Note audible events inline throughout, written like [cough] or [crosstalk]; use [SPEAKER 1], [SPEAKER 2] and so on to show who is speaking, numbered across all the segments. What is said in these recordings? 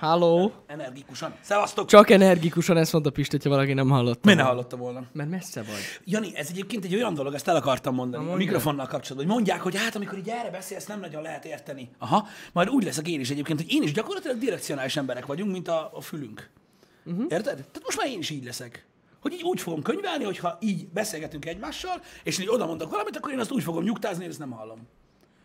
[SPEAKER 1] Hello.
[SPEAKER 2] Energikusan. Szevasztok!
[SPEAKER 1] Csak energikusan ezt mondta Pist, hogyha valaki nem hallotta.
[SPEAKER 2] Miért ne
[SPEAKER 1] volna.
[SPEAKER 2] hallotta volna?
[SPEAKER 1] Mert messze vagy.
[SPEAKER 2] Jani, ez egyébként egy olyan dolog, ezt el akartam mondani a mikrofonnal kapcsolatban, hogy mondják, hogy hát amikor így erre beszélsz, nem nagyon lehet érteni. Aha, majd úgy leszek én is egyébként, hogy én is gyakorlatilag direkcionális emberek vagyunk, mint a, a fülünk.
[SPEAKER 1] Mhm.
[SPEAKER 2] Uh-huh. Érted? Tehát most már én is így leszek. Hogy így úgy fogom könyvelni, hogyha így beszélgetünk egymással, és én így oda mondok valamit, akkor én azt úgy fogom nyugtázni, hogy ezt nem hallom.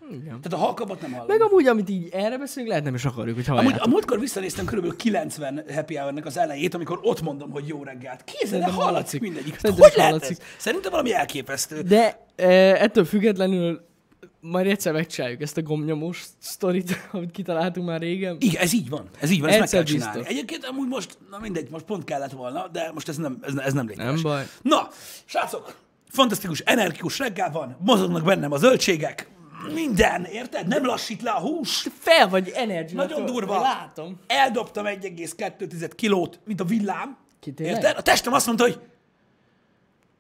[SPEAKER 1] Igen.
[SPEAKER 2] Tehát a halkabbat nem hallom.
[SPEAKER 1] Meg amúgy, amit így erre beszélünk, lehet nem is akarjuk, hogy hallják.
[SPEAKER 2] Amúgy a múltkor visszanéztem körülbelül 90 happy hour az elejét, amikor ott mondom, hogy jó reggelt. Kézzel, de
[SPEAKER 1] Szerintem
[SPEAKER 2] hallatszik
[SPEAKER 1] hallatszik.
[SPEAKER 2] mindegyik. Hát
[SPEAKER 1] Szerintem
[SPEAKER 2] Hogy
[SPEAKER 1] is
[SPEAKER 2] lehet ez?
[SPEAKER 1] hallatszik.
[SPEAKER 2] Szerintem valami elképesztő.
[SPEAKER 1] De e, ettől függetlenül majd egyszer megcsináljuk ezt a gomnyomós sztorit, [laughs] amit kitaláltunk már régen.
[SPEAKER 2] Igen, ez így van. Ez így van, ezt meg
[SPEAKER 1] Egyszer
[SPEAKER 2] kell csinálni.
[SPEAKER 1] biztos.
[SPEAKER 2] Egyébként amúgy most, na mindegy, most pont kellett volna, de most ez nem, ez, ez nem létezik.
[SPEAKER 1] Nem baj.
[SPEAKER 2] Na, srácok, fantasztikus, energikus reggel van, mozognak bennem a zöldségek, minden, érted? Nem lassít le a hús.
[SPEAKER 1] Fel vagy energy.
[SPEAKER 2] Nagyon durva.
[SPEAKER 1] Látom.
[SPEAKER 2] Eldobtam 1,2 kilót, mint a villám.
[SPEAKER 1] Ki tényleg?
[SPEAKER 2] Érted? A testem azt mondta, hogy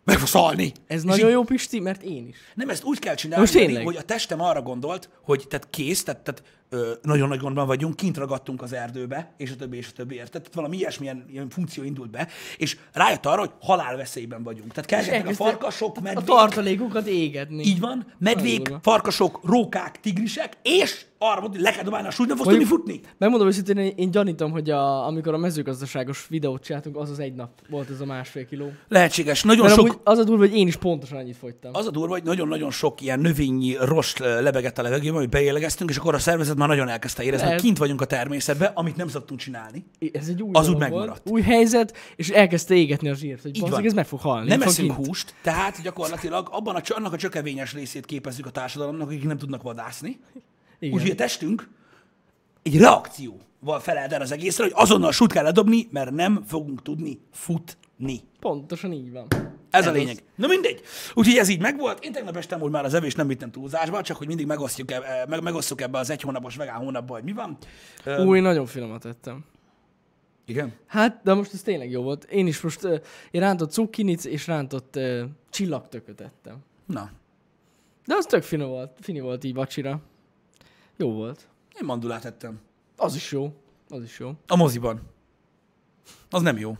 [SPEAKER 2] meg fogsz halni.
[SPEAKER 1] Ez
[SPEAKER 2] És
[SPEAKER 1] nagyon jó, Pisti, mert én is.
[SPEAKER 2] nem, ezt úgy kell csinálni,
[SPEAKER 1] Most
[SPEAKER 2] Jani,
[SPEAKER 1] tényleg?
[SPEAKER 2] hogy a testem arra gondolt, hogy tehát kész, tehát, tehát ö, nagyon nagy gondban vagyunk, kint ragadtunk az erdőbe, és a többi, és a többi, érted? Tehát valami ilyesmilyen ilyen funkció indult be, és rájött arra, hogy halálveszélyben vagyunk. Tehát kezdenek a
[SPEAKER 1] elkezdte
[SPEAKER 2] farkasok,
[SPEAKER 1] hát A
[SPEAKER 2] medvék,
[SPEAKER 1] tartalékokat égetni.
[SPEAKER 2] így van, medvék,
[SPEAKER 1] Nagyon durva.
[SPEAKER 2] farkasok, rókák, tigrisek, és arra mondta, hogy le kell dobálni a súlyt, nem fogsz tudni
[SPEAKER 1] Mondjuk-
[SPEAKER 2] futni.
[SPEAKER 1] Megmondom őszintén, én, én gyanítom, hogy a, amikor a mezőgazdaságos videót csináltunk, az az egy nap volt ez a másfél kiló.
[SPEAKER 2] Lehetséges. Nagyon
[SPEAKER 1] Mert
[SPEAKER 2] sok,
[SPEAKER 1] amúgy az a durva, hogy én is pontosan annyit fogytam.
[SPEAKER 2] Az a durva, hogy nagyon-nagyon sok ilyen növényi rost ö, lebegett a levegőben, amit beélegeztünk, és akkor a szervezet már nagyon elkezdte érezni, hogy
[SPEAKER 1] Lehet.
[SPEAKER 2] kint vagyunk a természetben, amit nem szoktunk csinálni.
[SPEAKER 1] Ez egy új
[SPEAKER 2] az úgy
[SPEAKER 1] dolog volt,
[SPEAKER 2] megmaradt.
[SPEAKER 1] Új helyzet, és elkezdte égetni a zsírt, hogy
[SPEAKER 2] Így
[SPEAKER 1] bazzeg,
[SPEAKER 2] van.
[SPEAKER 1] ez meg fog halni.
[SPEAKER 2] Nem
[SPEAKER 1] itt van
[SPEAKER 2] eszünk
[SPEAKER 1] kint.
[SPEAKER 2] húst, tehát gyakorlatilag abban a, csö- annak a csökevényes részét képezzük a társadalomnak, akik nem tudnak vadászni.
[SPEAKER 1] Igen.
[SPEAKER 2] Úgyhogy a testünk egy reakcióval felel el az egészre, hogy azonnal sút kell ledobni, mert nem fogunk tudni futni.
[SPEAKER 1] Pontosan így van.
[SPEAKER 2] Ez a
[SPEAKER 1] az.
[SPEAKER 2] lényeg. Na mindegy. Úgyhogy ez így megvolt. Én tegnap este amúgy már az evés nem vittem túlzásba, csak hogy mindig megosztjuk eb- eh, meg, megosztjuk ebbe az egy hónapos vegán hónapba, hogy mi van. Ö,
[SPEAKER 1] Új, nagyon finomat ettem.
[SPEAKER 2] igen.
[SPEAKER 1] Hát, de most ez tényleg jó volt. Én is most, ö, én rántott cukinit és rántott ö, csillagtököt ettem.
[SPEAKER 2] Na,
[SPEAKER 1] De az tök finom volt, fini volt így vacsira. Jó volt.
[SPEAKER 2] én mandulát ettem.
[SPEAKER 1] Az is jó. Az is jó.
[SPEAKER 2] A moziban. Az nem jó.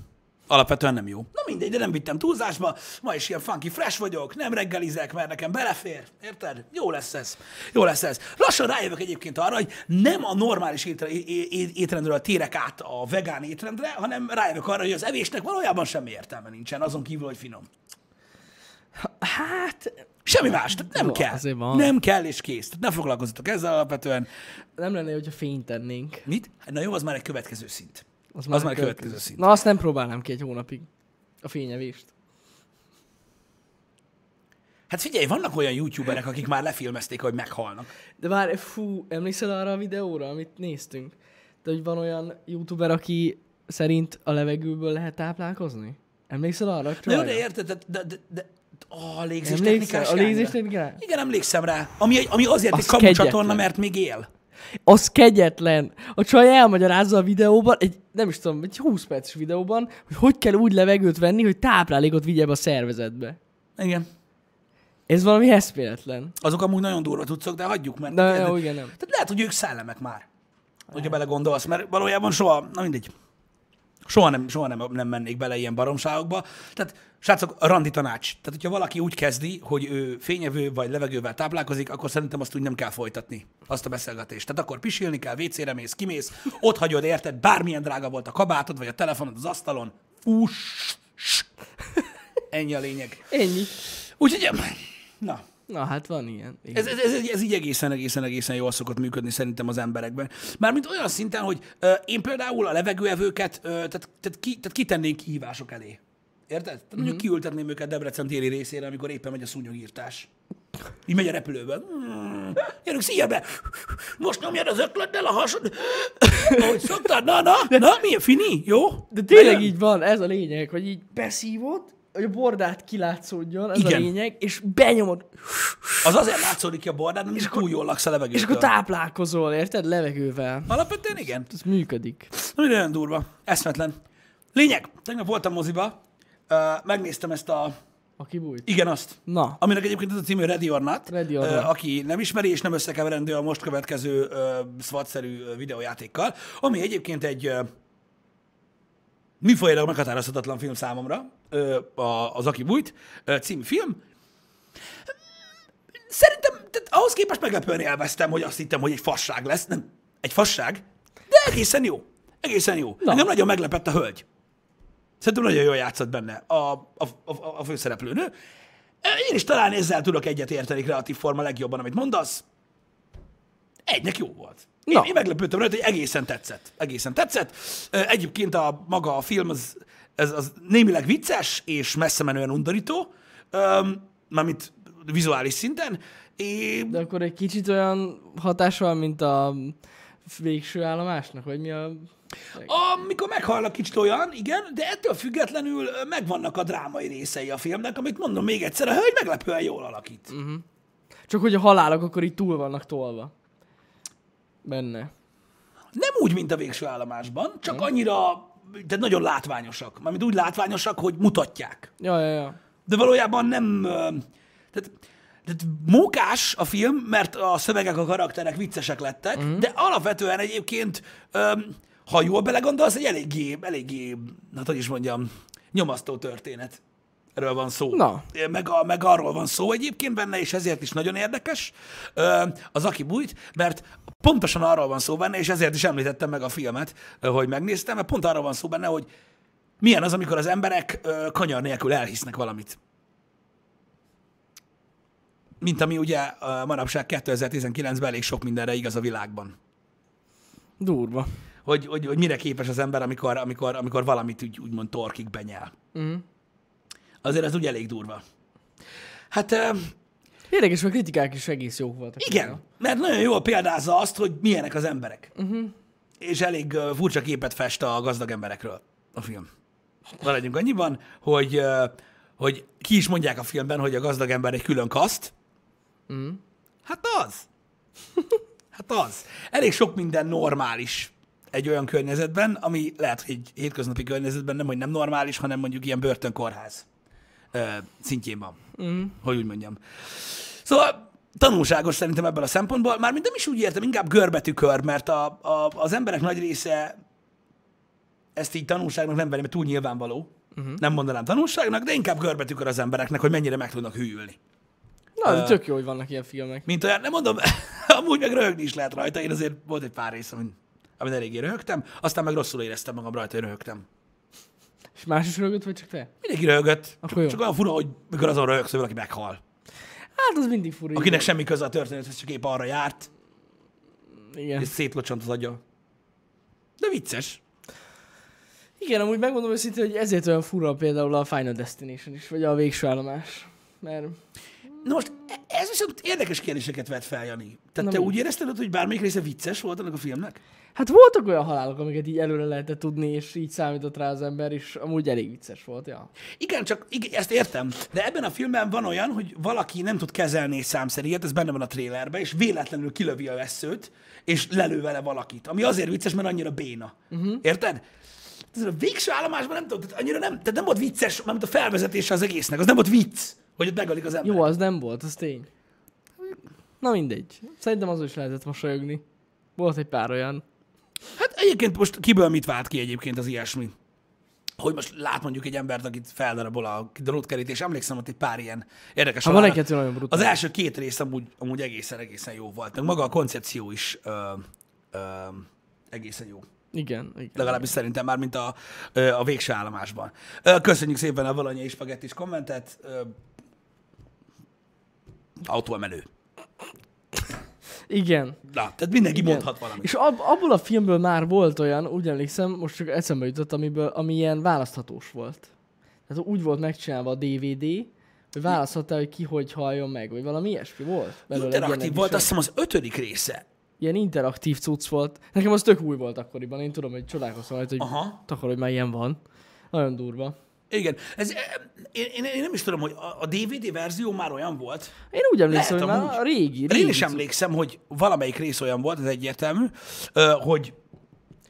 [SPEAKER 2] Alapvetően nem jó. Na mindegy, de nem vittem túlzásba. Ma is ilyen funky fresh vagyok, nem reggelizek, mert nekem belefér. Érted? Jó lesz ez. Jó lesz ez. Lassan rájövök egyébként arra, hogy nem a normális étre- é- é- étrendről térek át a vegán étrendre, hanem rájövök arra, hogy az evésnek valójában semmi értelme nincsen, azon kívül, hogy finom.
[SPEAKER 1] Hát,
[SPEAKER 2] Semmi más, tehát nem
[SPEAKER 1] Jó,
[SPEAKER 2] kell.
[SPEAKER 1] azért van.
[SPEAKER 2] Nem kell és kész. Tehát nem foglalkozzatok ezzel alapvetően.
[SPEAKER 1] nem lenne, hogyha fényt tennénk.
[SPEAKER 2] Mit? Na jó, az már egy következő szint. Az már, az már egy következő szint.
[SPEAKER 1] Na, azt nem próbálnám ki egy hónapig. A fényevést.
[SPEAKER 2] Hát figyelj, vannak olyan youtuberek, akik már lefilmezték, hogy meghalnak.
[SPEAKER 1] De várj, fú, emlékszel arra a videóra, amit néztünk? De hogy van olyan youtuber, aki szerint a levegőből lehet táplálkozni? Emlékszel arra? a
[SPEAKER 2] Na jó, de
[SPEAKER 1] csajra?
[SPEAKER 2] érted, de, de, de, de ó, a
[SPEAKER 1] Emlékszel?
[SPEAKER 2] légzéstechnikás
[SPEAKER 1] A
[SPEAKER 2] lányra.
[SPEAKER 1] légzéstechnikás?
[SPEAKER 2] Igen, emlékszem rá. Ami, egy- ami azért
[SPEAKER 1] Az
[SPEAKER 2] egy kamu
[SPEAKER 1] kegyetlen.
[SPEAKER 2] csatorna, mert még él.
[SPEAKER 1] Az kegyetlen. A csaj elmagyarázza a videóban, egy, nem is tudom, egy 20 perces videóban, hogy hogy kell úgy levegőt venni, hogy táplálékot vigye be a szervezetbe.
[SPEAKER 2] Igen.
[SPEAKER 1] Ez valami eszméletlen.
[SPEAKER 2] Azok amúgy nagyon durva tudszok, de hagyjuk, mert...
[SPEAKER 1] De jó, igen, nem.
[SPEAKER 2] Tehát lehet, hogy ők szellemek már. Hogyha belegondolsz, mert valójában soha, na mindegy, soha nem, soha nem, nem mennék bele ilyen baromságokba. Tehát, srácok, a randi tanács. Tehát, hogyha valaki úgy kezdi, hogy ő fényevő vagy levegővel táplálkozik, akkor szerintem azt úgy nem kell folytatni, azt a beszélgetést. Tehát akkor pisilni kell, WC-re mész, kimész, ott hagyod, érted, bármilyen drága volt a kabátod, vagy a telefonod az asztalon, fuss, ennyi a lényeg.
[SPEAKER 1] Ennyi.
[SPEAKER 2] Úgyhogy, na,
[SPEAKER 1] Na hát van ilyen. ilyen.
[SPEAKER 2] ez, ez, ez, ez így egészen, egészen, egészen jól szokott működni szerintem az emberekben. Mármint olyan szinten, hogy ö, én például a levegőevőket, ö, tehát, tehát, ki, tehát kitennénk kihívások elé. Érted? Tehát mondjuk
[SPEAKER 1] Mhm.
[SPEAKER 2] mm-hmm. kiültetném őket Debrecen téli részére, amikor éppen megy a szúnyogírtás. Így megy a repülőben. Mm, gyerünk, szia be! Most nyomjad az ötlettel a hasad. Ahogy szoktad, na, na, na, milyen fini, jó?
[SPEAKER 1] De tényleg
[SPEAKER 2] Bejön?
[SPEAKER 1] így van, ez a lényeg, hogy így beszívod, hogy a bordát kilátszódjon, ez
[SPEAKER 2] Igen.
[SPEAKER 1] a lényeg, és benyomod,
[SPEAKER 2] Az azért látszódik ki a bordán, nem is túl jól laksz a levegőtől.
[SPEAKER 1] és akkor táplálkozol, érted? Levegővel.
[SPEAKER 2] Alapvetően igen.
[SPEAKER 1] Ez működik.
[SPEAKER 2] Na, Nagyon durva, eszmetlen. Lényeg, tegnap voltam moziba, ö, megnéztem ezt a
[SPEAKER 1] Aki bújt.
[SPEAKER 2] Igen, azt.
[SPEAKER 1] Na.
[SPEAKER 2] Aminek egyébként az a című Ready or Not.
[SPEAKER 1] Ready or
[SPEAKER 2] Ö,
[SPEAKER 1] Not.
[SPEAKER 2] Aki nem ismeri, és nem összekeverendő a most következő ö, SWAT-szerű ö, videójátékkal, ami egyébként egy ö, műfajilag meghatározhatatlan film számomra, ö, a- az Aki Bújt ö, című film. Szerintem tehát ahhoz képest meglepően élveztem, hogy azt hittem, hogy egy fasság lesz. Nem, egy fasság, de egészen jó. Egészen jó.
[SPEAKER 1] Na.
[SPEAKER 2] Na. Engem nagyon meglepett a hölgy. Szerintem nagyon jól játszott benne a, a, a, a főszereplőnő. Én is talán ezzel tudok egyet érteni kreatív forma legjobban, amit mondasz. Egynek jó volt. Én,
[SPEAKER 1] Na.
[SPEAKER 2] én meglepődtem rajta, hogy egészen tetszett. Egészen tetszett. Ö, Egyébként a maga a film az, ez, az némileg vicces és messze menően undorító, öm, mármint vizuális szinten. É,
[SPEAKER 1] De akkor egy kicsit olyan hatás van, mint a végső állomásnak, vagy mi a...
[SPEAKER 2] Amikor meghallak kicsit olyan, igen, de ettől függetlenül ö, megvannak a drámai részei a filmnek, amit mondom még egyszer, a hölgy meglepően jól alakít. Mm.
[SPEAKER 1] Csak hogy a halálok akkor így túl vannak tolva. Benne.
[SPEAKER 2] Nem úgy, mint a végső állomásban, csak annyira, tehát nagyon látványosak. Mármint úgy látványosak, hogy mutatják.
[SPEAKER 1] Ja, ja, ja.
[SPEAKER 2] De valójában nem... ö, Tehát, tehát mókás a film, mert a szövegek, a karakterek viccesek lettek, mm. de alapvetően egyébként, öm, ha jól belegondolsz, egy eléggé, eléggé, hát hogy is mondjam, nyomasztó történet. Erről van szó.
[SPEAKER 1] Na.
[SPEAKER 2] Meg, a, meg arról van szó egyébként benne, és ezért is nagyon érdekes ö, az Aki bújt, mert pontosan arról van szó benne, és ezért is említettem meg a filmet, ö, hogy megnéztem, mert pont arról van szó benne, hogy milyen az, amikor az emberek ö, kanyar nélkül elhisznek valamit mint ami ugye ö, manapság 2019-ben elég sok mindenre igaz a világban.
[SPEAKER 1] Durva.
[SPEAKER 2] Hogy, hogy, hogy mire képes az ember, amikor, amikor, amikor valamit úgy, úgymond torkig benyel.
[SPEAKER 1] Mhm.
[SPEAKER 2] Azért ez úgy elég durva. Hát ö,
[SPEAKER 1] Érdekes, hogy a kritikák is egész jók voltak.
[SPEAKER 2] igen, mert nagyon jól példázza azt, hogy milyenek az emberek. Uh-huh. És elég ö, furcsa képet fest a gazdag emberekről a film. Maradjunk annyiban, hogy, ö, hogy ki is mondják a filmben, hogy a gazdag ember egy külön kaszt,
[SPEAKER 1] Mm.
[SPEAKER 2] Hát az. [laughs] Hát az. Elég sok minden normális egy olyan környezetben, ami lehet, hogy egy hétköznapi környezetben nem, hogy nem normális, hanem mondjuk ilyen börtönkórház ö, szintjén van. Mm. Hogy úgy mondjam. Szóval tanulságos szerintem ebből a szempontból. Mármint nem is úgy értem, inkább görbetükör, mert a, a, az emberek nagy része ezt így tanulságnak nem veri, mert túl nyilvánvaló.
[SPEAKER 1] Mhm.
[SPEAKER 2] Uh-huh. Nem mondanám tanulságnak, de inkább görbetükör az embereknek, hogy mennyire meg tudnak hűlni.
[SPEAKER 1] Na, de tök jó, hogy vannak ilyen filmek.
[SPEAKER 2] Mint olyan, nem mondom, [laughs] amúgy meg röhögni is lehet rajta. Én azért volt egy pár rész, amin, amin eléggé röhögtem, aztán meg rosszul éreztem magam rajta, hogy röhögtem.
[SPEAKER 1] És más is rögött, vagy csak te?
[SPEAKER 2] Mindenki röhögött.
[SPEAKER 1] Akkor jó.
[SPEAKER 2] Csak, csak olyan fura, hogy mikor azon röhögsz, hogy valaki meghal.
[SPEAKER 1] Hát az mindig fura.
[SPEAKER 2] Akinek semmi köze a történethez, csak épp arra járt,
[SPEAKER 1] igen. Igen.
[SPEAKER 2] és szétlocsant az agya. De vicces.
[SPEAKER 1] igen, amúgy megmondom őszintén, hogy ezért olyan fura például a Final Destination is, vagy a végső állomás. Mert
[SPEAKER 2] Na most, e- ez viszont érdekes kérdéseket vet fel, Jani. Tehát
[SPEAKER 1] Na
[SPEAKER 2] te
[SPEAKER 1] mi?
[SPEAKER 2] úgy érezted, hogy bármelyik része vicces volt annak a filmnek?
[SPEAKER 1] hát voltak olyan halálok, amiket így előre lehetett tudni, és így számított rá az ember, és amúgy elég vicces volt, ja.
[SPEAKER 2] Igen, csak igen, ezt értem. De ebben a filmben van olyan, hogy valaki nem tud kezelni egy számszerűet, ez benne van a trélerben, és véletlenül kilövi a veszőt, és lelő vele valakit. Ami azért vicces, mert annyira béna.
[SPEAKER 1] Mhm.
[SPEAKER 2] Uh-huh. Érted? Ez a végső állomásban nem tudom, tehát annyira nem, tehát nem volt vicces, mert a felvezetése az egésznek, az nem volt vicc, hogy ott megölik az ember.
[SPEAKER 1] Jó, az nem volt, az tény. Na mindegy. Szerintem azon is lehetett mosolyogni. Volt egy pár olyan.
[SPEAKER 2] Hát egyébként most kiből mit vált ki egyébként az ilyesmi? Hogy most lát mondjuk egy embert, akit feldarabol a drótkerítés, emlékszem, hogy egy pár ilyen érdekes.
[SPEAKER 1] Ha van
[SPEAKER 2] halál-
[SPEAKER 1] egy-kettő nagyon brutál.
[SPEAKER 2] Az első két rész amúgy, amúgy egészen, egészen jó volt. Meg maga a koncepció is ö, ö, egészen jó.
[SPEAKER 1] Igen, igen.
[SPEAKER 2] Legalábbis szerintem már, mint a, ö, a végső állomásban. Ö, Köszönjük szépen a Valanyai Spagettis kommentet. Ö, autóemelő.
[SPEAKER 1] Igen.
[SPEAKER 2] Na, tehát mindenki
[SPEAKER 1] Igen.
[SPEAKER 2] Igen. mondhat valamit.
[SPEAKER 1] És ab, abból a filmből már volt olyan, úgy emlékszem, most csak eszembe jutott, amiből, ami ilyen választhatós volt. Tehát úgy volt megcsinálva a DVD, hogy választhattál, hogy ki hogy halljon meg, vagy valami ilyesmi volt. belőle, egy
[SPEAKER 2] Interaktív
[SPEAKER 1] ilyen
[SPEAKER 2] volt,
[SPEAKER 1] episode.
[SPEAKER 2] azt hiszem az ötödik része.
[SPEAKER 1] Ilyen interaktív cucc volt. Nekem az tök új volt akkoriban, én tudom, hogy csodálkoztam rajta, hogy
[SPEAKER 2] Aha.
[SPEAKER 1] takar, hogy már ilyen van. Nagyon durva.
[SPEAKER 2] Igen, ez, eh, én, én, én nem is tudom, hogy a, a DVD verzió már olyan volt.
[SPEAKER 1] Én úgy emlékszem,
[SPEAKER 2] Lehet,
[SPEAKER 1] hogy már
[SPEAKER 2] amúgy.
[SPEAKER 1] a régi, régi
[SPEAKER 2] Én is
[SPEAKER 1] cucc.
[SPEAKER 2] emlékszem, hogy valamelyik rész olyan volt, ez egyértelmű, ö, hogy hogy,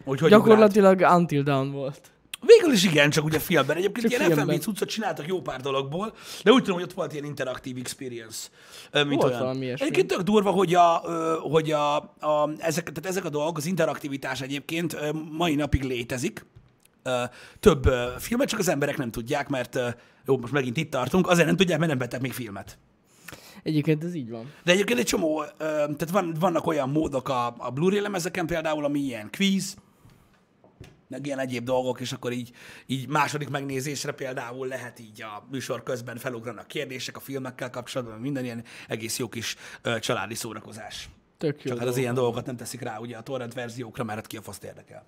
[SPEAKER 2] hogy ugrált.
[SPEAKER 1] Gyakorlatilag Until Dawn volt.
[SPEAKER 2] Végül is igen, csak ugye filmben. Egyébként
[SPEAKER 1] Csak
[SPEAKER 2] ilyen
[SPEAKER 1] filmben.
[SPEAKER 2] FMV cuccot csináltak jó pár dologból, de úgy tudom, hogy ott volt ilyen interaktív experience. ö, Mint
[SPEAKER 1] Volt
[SPEAKER 2] olyan.
[SPEAKER 1] valami ilyesmi.
[SPEAKER 2] Egyébként tök durva, hogy, a, ö, hogy a, a, ezek, tehát ezek a dolgok, az interaktivitás egyébként ö, mai napig létezik. Ö, Több ö, filmet, csak az emberek nem tudják, mert ö, jó, most megint itt tartunk, azért nem tudják, mert nem vettek még filmet.
[SPEAKER 1] Egyébként ez így van.
[SPEAKER 2] De egyébként egy csomó, ö, tehát van, vannak olyan módok a, a Blu-ray lemezeken például, ami ilyen quiz, meg ilyen egyéb dolgok, és akkor így, így második megnézésre például lehet így a műsor közben felugranak kérdések a filmekkel kapcsolatban, minden ilyen egész jó kis ö, családi szórakozás.
[SPEAKER 1] Tök jó.
[SPEAKER 2] Csak hát az
[SPEAKER 1] dolog.
[SPEAKER 2] ilyen dolgokat nem teszik rá ugye a torrent verziókra, mert hát ki a faszt érdekel.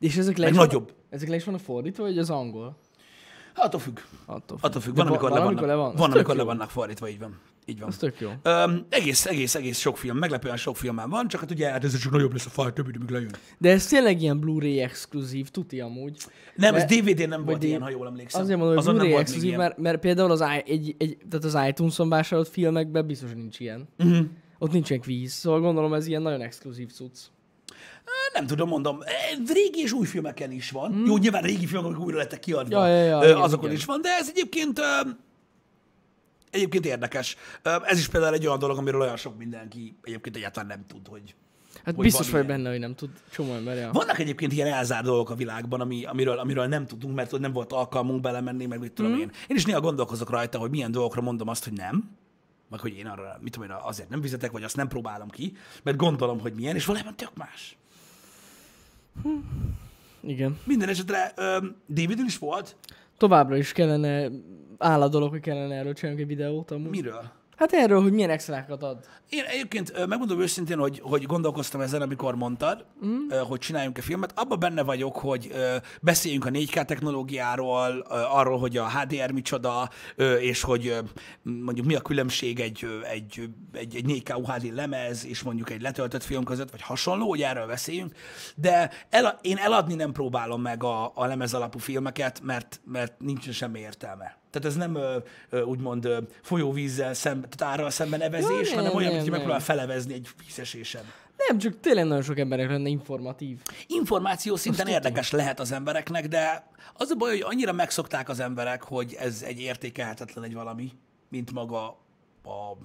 [SPEAKER 1] És ezek le,
[SPEAKER 2] meg
[SPEAKER 1] is van,
[SPEAKER 2] nagyobb.
[SPEAKER 1] ezek le is van a fordítva, vagy az angol?
[SPEAKER 2] Hát attól függ.
[SPEAKER 1] Attól függ.
[SPEAKER 2] Attól függ.
[SPEAKER 1] De
[SPEAKER 2] Van, amikor le vannak,
[SPEAKER 1] valamikor
[SPEAKER 2] van,
[SPEAKER 1] Az tök
[SPEAKER 2] amikor
[SPEAKER 1] jó.
[SPEAKER 2] le vannak fordítva, így van. Így van.
[SPEAKER 1] Az tök jó.
[SPEAKER 2] Öm, egész, egész, egész sok film, meglepően sok film már van, csak hát ugye hát ez csak nagyobb lesz a faj, több időmig lejön.
[SPEAKER 1] De ez tényleg ilyen Blu-ray exkluzív, tuti amúgy.
[SPEAKER 2] Nem, ez
[SPEAKER 1] Mert-
[SPEAKER 2] DVD-n nem volt
[SPEAKER 1] D-
[SPEAKER 2] ilyen, ha jól emlékszem.
[SPEAKER 1] Azért mondom, hogy
[SPEAKER 2] Azon nem
[SPEAKER 1] Blu-ray
[SPEAKER 2] volt még
[SPEAKER 1] exkluzív,
[SPEAKER 2] ilyen.
[SPEAKER 1] mert, mert például az, i- egy, egy, tehát az iTunes-on vásárolt filmekben biztos nincs ilyen.
[SPEAKER 2] Mhm.
[SPEAKER 1] Ott nincsen víz, szóval gondolom ez ilyen nagyon exkluzív cucc.
[SPEAKER 2] Nem tudom, mondom, eh, régi és új filmeken is van. Jó, nyilván régi filmek, amik újra lettek kiadva,
[SPEAKER 1] Hmm. Ja, ja, ja,
[SPEAKER 2] ö,
[SPEAKER 1] igen,
[SPEAKER 2] azokon
[SPEAKER 1] igen.
[SPEAKER 2] is van, de ez egyébként ö, egyébként érdekes. Ö, Ez is például egy olyan dolog, amiről olyan sok mindenki egyébként egyáltalán nem tud, hogy
[SPEAKER 1] Hát
[SPEAKER 2] Hogy
[SPEAKER 1] biztos
[SPEAKER 2] van
[SPEAKER 1] vagy
[SPEAKER 2] ilyen.
[SPEAKER 1] benne, hogy nem tud csomó ember. Ja.
[SPEAKER 2] Vannak egyébként ilyen elzárt dolgok a világban, ami, amiről, amiről nem tudunk, mert nem volt alkalmunk belemenni, meg mit tudom mm. én. Én is néha gondolkozok rajta, hogy milyen dolgokra mondom azt, hogy nem, meg hogy én arra, mit tudom én, azért nem fizetek, vagy azt nem próbálom ki, mert gondolom, hogy milyen, és valójában tök más.
[SPEAKER 1] Igen.
[SPEAKER 2] Minden esetre um, Davidül is volt.
[SPEAKER 1] Továbbra is kellene, áll a dolog, hogy kellene erről csinálni egy videót amúgy.
[SPEAKER 2] Miről?
[SPEAKER 1] Hát erről, hogy milyen extrákat ad.
[SPEAKER 2] Én egyébként ö, megmondom őszintén, hogy, hogy gondolkoztam ezen, amikor mondtad, mm. hogy csináljunk-e filmet. Abba benne vagyok, hogy ö, beszéljünk a 4K technológiáról, ö, arról, hogy a HDR micsoda, ö, és hogy ö, mondjuk mi a különbség egy, ö, egy, ö, egy, egy 4K UHD lemez, és mondjuk egy letöltött film között, vagy hasonló, hogy erről beszéljünk. De el, én eladni nem próbálom meg a, a lemez alapú filmeket, mert, mert nincsen semmi értelme. Tehát ez nem ö, ö, úgymond ö, folyóvízzel szemben, tehát árral szemben evezés,
[SPEAKER 1] Ja,
[SPEAKER 2] hanem
[SPEAKER 1] nem,
[SPEAKER 2] olyan,
[SPEAKER 1] nem,
[SPEAKER 2] hogy
[SPEAKER 1] nem.
[SPEAKER 2] megpróbál felevezni egy vízesésen.
[SPEAKER 1] Nem, csak tényleg nagyon sok embernek lenne informatív.
[SPEAKER 2] Információ szinten érdekes lehet az embereknek, de az a baj, hogy annyira megszokták az emberek, hogy ez egy értékelhetetlen egy valami, mint maga a,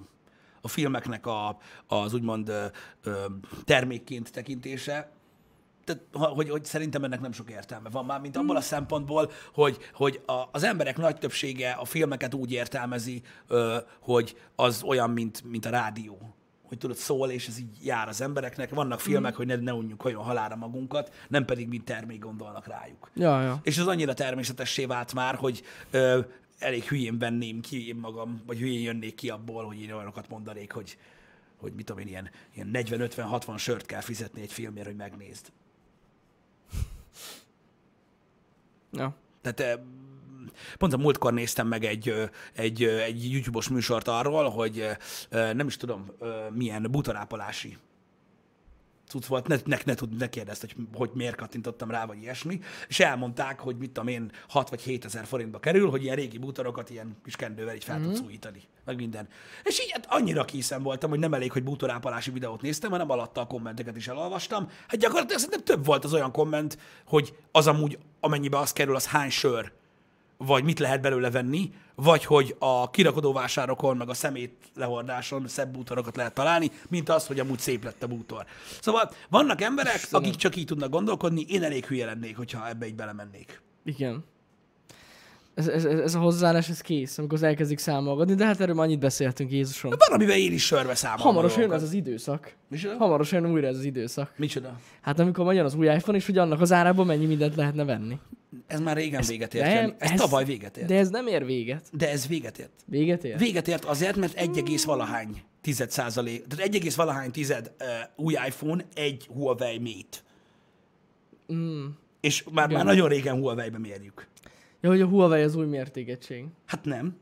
[SPEAKER 2] a filmeknek a, az úgymond ö, ö, termékként tekintése. Tehát, ha- hogy, hogy szerintem ennek nem sok értelme van már, mint abból a szempontból, hogy, hogy a, az emberek nagy többsége a filmeket úgy értelmezi, ö, hogy az olyan, mint, mint a rádió. Hogy tudod, szól, és ez így jár az embereknek. Vannak filmek, hogy ne, ne unjuk olyan halára magunkat, nem pedig mint termék gondolnak rájuk.
[SPEAKER 1] Ja, ja.
[SPEAKER 2] És ez annyira természetessé vált már, hogy ö, elég hülyén venném ki én magam, vagy hülyén jönnék ki abból, hogy én olyanokat mondanék, hogy, hogy mit tudom én, ilyen, ilyen 40-50-60 sört kell fizetni egy filmért, hogy megnézd.
[SPEAKER 1] ja.
[SPEAKER 2] Tehát eh, pont a múltkor néztem meg egy, ö, egy, ö, egy YouTube-os műsort arról, hogy ö, ö, nem is tudom, ö, milyen butorápolási cucc volt, ne, ne, ne, tud, ne kérdezt, hogy, hogy miért kattintottam rá, vagy ilyesmi, és elmondták, hogy mit tudom én, 6 vagy 7 ezer forintba kerül, hogy ilyen régi bútorokat ilyen kis kendővel így fel tudsz újítani, meg minden. És így hát annyira készen voltam, hogy nem elég, hogy bútorápolási videót néztem, hanem alatta a kommenteket is elolvastam. Hát gyakorlatilag szerintem több volt az olyan komment, hogy az amúgy, amennyibe az kerül, az hány sör, vagy mit lehet belőle venni, vagy hogy a kirakodóvásárokon, meg a szemét lehordáson szebb bútorokat lehet találni, mint az, hogy amúgy szép lett a bútor. Szóval vannak emberek,
[SPEAKER 1] Istenem.
[SPEAKER 2] akik csak így tudnak gondolkodni, én elég hülye lennék, hogyha ebbe így belemennék.
[SPEAKER 1] Igen. Ez, ez, ez, ez a hozzáállás, ez kész, amikor az elkezdik számolgatni, de hát erről már annyit beszéltünk Jézusom.
[SPEAKER 2] Van, amiben én is sörbe számolom.
[SPEAKER 1] Hamarosan jön
[SPEAKER 2] dolgokat.
[SPEAKER 1] az az időszak.
[SPEAKER 2] Micsoda?
[SPEAKER 1] Hamarosan jön újra ez az időszak.
[SPEAKER 2] Micsoda?
[SPEAKER 1] Hát amikor majd jön az új iPhone, és hogy annak az árában mennyi mindent lehetne venni.
[SPEAKER 2] Ez már régen véget ért.
[SPEAKER 1] nem,
[SPEAKER 2] Jani. ez, ez
[SPEAKER 1] ez-
[SPEAKER 2] tavaly véget ért. De...
[SPEAKER 1] De ez nem ér véget.
[SPEAKER 2] de ez véget ért.
[SPEAKER 1] Véget ér?
[SPEAKER 2] Véget ért azért, mert 1, egész valahány tized százalék, tehát 1, egész valahány tized uh, új iPhone, egy Huawei Mate.
[SPEAKER 1] Mm.
[SPEAKER 2] És már, már nagyon régen Huawei-be mérjük.
[SPEAKER 1] Ja, hogy a Huawei az új mértékegység.
[SPEAKER 2] Hát nem.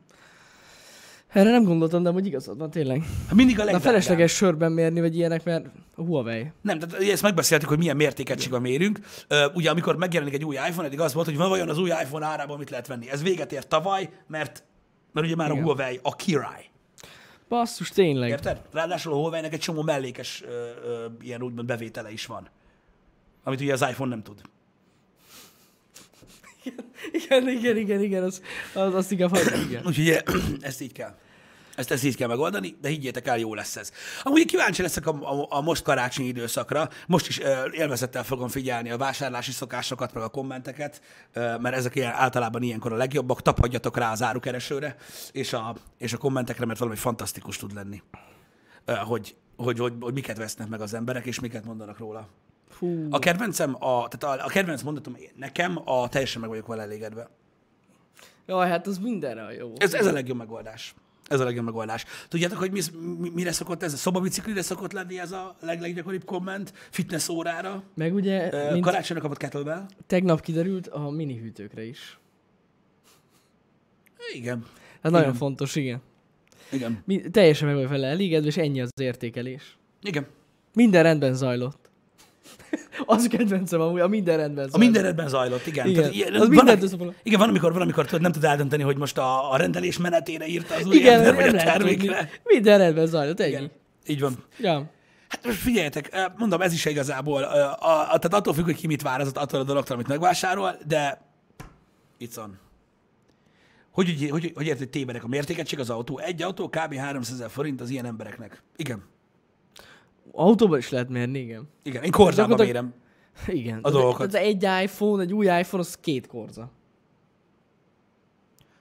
[SPEAKER 1] Erre nem gondoltam, de hogy igazad van tényleg.
[SPEAKER 2] Hát mindig a
[SPEAKER 1] De
[SPEAKER 2] legdrágább.
[SPEAKER 1] felesleges sörben mérni, vagy ilyenek, mert a Huawei.
[SPEAKER 2] Nem, tehát ugye ezt megbeszéltük, hogy milyen mértékegységben mérünk. Ö, Ugye amikor megjelenik egy új iPhone, eddig az volt, hogy van vajon az új iPhone árában mit lehet venni. Ez véget ért tavaly, mert, mert ugye már Igen. a
[SPEAKER 1] Igen.
[SPEAKER 2] Huawei a király.
[SPEAKER 1] Basszus, tényleg.
[SPEAKER 2] Érted? Ráadásul a Huawei-nek egy csomó mellékes ö, ö, ilyen úgymond bevétele is van. Amit ugye az iPhone nem tud.
[SPEAKER 1] Igen, igen, igen, igen, az, az, azt igen, fajta, igen.
[SPEAKER 2] Úgyhogy e, [clears throat] ezt így kell. Ezt, ezt így kell megoldani, de higgyétek el, jó lesz ez. Amúgy kíváncsi leszek a, a, a most karácsonyi időszakra. Most is ö, élvezettel fogom figyelni a vásárlási szokásokat, meg a kommenteket, ö, mert ezek ilyen, általában ilyenkor a legjobbak. Tapadjatok rá az árukeresőre és a, és a kommentekre, mert valami fantasztikus tud lenni. Ö, hogy, hogy, hogy, hogy miket vesznek meg az emberek, és miket mondanak róla.
[SPEAKER 1] Hú,
[SPEAKER 2] A kedvencem, a, tehát a, a kedvenc mondatom én- nekem, a teljesen meg vagyok vele elégedve.
[SPEAKER 1] jaj, hát az mindenre a jó.
[SPEAKER 2] Ez, ez a legjobb megoldás. Ez a legjobb megoldás. Tudjátok, hogy mi, mi, mire szokott ez? A szobabiciklire szokott lenni ez a leg, leggyakoribb komment? Fitness órára?
[SPEAKER 1] Meg ugye,
[SPEAKER 2] Ö,
[SPEAKER 1] mint
[SPEAKER 2] Karácsonyra kapott kettlebell?
[SPEAKER 1] tegnap kiderült, a mini hűtőkre is.
[SPEAKER 2] Igen.
[SPEAKER 1] Hát nagyon fontos, igen.
[SPEAKER 2] Igen.
[SPEAKER 1] Mi, teljesen meg vagy vele elégedve, és ennyi az értékelés.
[SPEAKER 2] Igen.
[SPEAKER 1] Minden rendben zajlott. [laughs] az a kedvencem amúgy, a minden rendben
[SPEAKER 2] A
[SPEAKER 1] zajlott.
[SPEAKER 2] minden rendben zajlott, igen.
[SPEAKER 1] Igen.
[SPEAKER 2] Tehát ilyen-
[SPEAKER 1] Az
[SPEAKER 2] van,
[SPEAKER 1] mindent
[SPEAKER 2] ami-
[SPEAKER 1] összefoglaló.
[SPEAKER 2] igen, van, amikor, van, amikor tudod, nem tud eldönteni, hogy most a, a rendelés menetére írta az új
[SPEAKER 1] igen,
[SPEAKER 2] ember,
[SPEAKER 1] nem
[SPEAKER 2] vagy a
[SPEAKER 1] lehet tudni.
[SPEAKER 2] termékre.
[SPEAKER 1] Minden rendben zajlott, ennyi.
[SPEAKER 2] Igen. Így van.
[SPEAKER 1] Ja.
[SPEAKER 2] Hát most figyeljetek, eh, mondom, ez is igazából, eh, a, a, tehát attól függ, hogy ki mit várazott attól a dologtól, amit megvásárol, de it's on. Hogy, hogy, hogy, hogy érted, hogy tévedek a mértékegység az autó? Egy autó kb. 300 ezer forint az ilyen embereknek. Igen.
[SPEAKER 1] Autóban is lehet mérni, igen.
[SPEAKER 2] Igen, én korzában
[SPEAKER 1] Gyakorlatilag-
[SPEAKER 2] mérem.
[SPEAKER 1] [laughs] Igen.
[SPEAKER 2] A dolgokat.
[SPEAKER 1] Tehát egy iPhone, egy új iPhone, az két korza.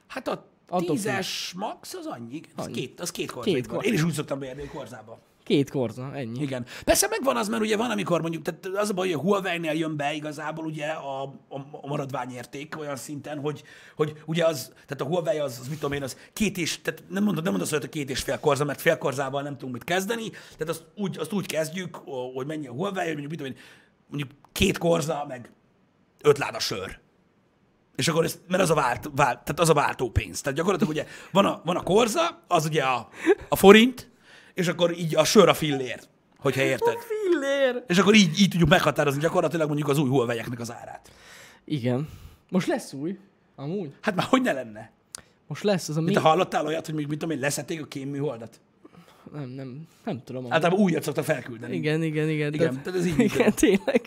[SPEAKER 2] Hát a
[SPEAKER 1] Attól függ.
[SPEAKER 2] tízes max az annyi, igen. Az
[SPEAKER 1] Annyi.
[SPEAKER 2] két, az két korzáig
[SPEAKER 1] Két
[SPEAKER 2] van.
[SPEAKER 1] kor-
[SPEAKER 2] Én is úgy szoktam mérni, hogy korzába.
[SPEAKER 1] Két korza, ennyi.
[SPEAKER 2] Igen. Persze megvan az, mert ugye van, amikor mondjuk, tehát az a baj, hogy a Huawei-nél jön be igazából ugye a, a, a maradványérték olyan szinten, hogy, hogy ugye az, tehát a Huawei az, az mit tudom én, az két és, tehát nem mondod, nem mondod, hogy a két és fél korza, mert fél korzával nem tudunk mit kezdeni, tehát azt úgy, azt úgy kezdjük, ó, hogy mennyi a Huawei, hogy mondjuk, mit tudom én, mondjuk két korza, meg öt láda sör. És akkor ez, mert az a, vált, vált, tehát az a váltó pénz. Tehát gyakorlatilag ugye van a, van a korza, az ugye a, a forint, és akkor így a sör a fillér, hogyha érted.
[SPEAKER 1] Fillér!
[SPEAKER 2] És akkor így, így tudjuk meghatározni gyakorlatilag mondjuk az új huawei az árát.
[SPEAKER 1] Igen. Most lesz új. Amúgy.
[SPEAKER 2] Hát már hogy ne lenne?
[SPEAKER 1] Most lesz az a mi...
[SPEAKER 2] Te hallottál olyat, hogy még mit tudom én, leszették a kémműholdat?
[SPEAKER 1] Nem, nem, nem tudom. amúgy.
[SPEAKER 2] Általában újat szoktak felküldeni.
[SPEAKER 1] Igen, igen, igen.
[SPEAKER 2] Hát- Igen,
[SPEAKER 1] de-
[SPEAKER 2] tehát ez így
[SPEAKER 1] Igen,
[SPEAKER 2] működik.
[SPEAKER 1] tényleg.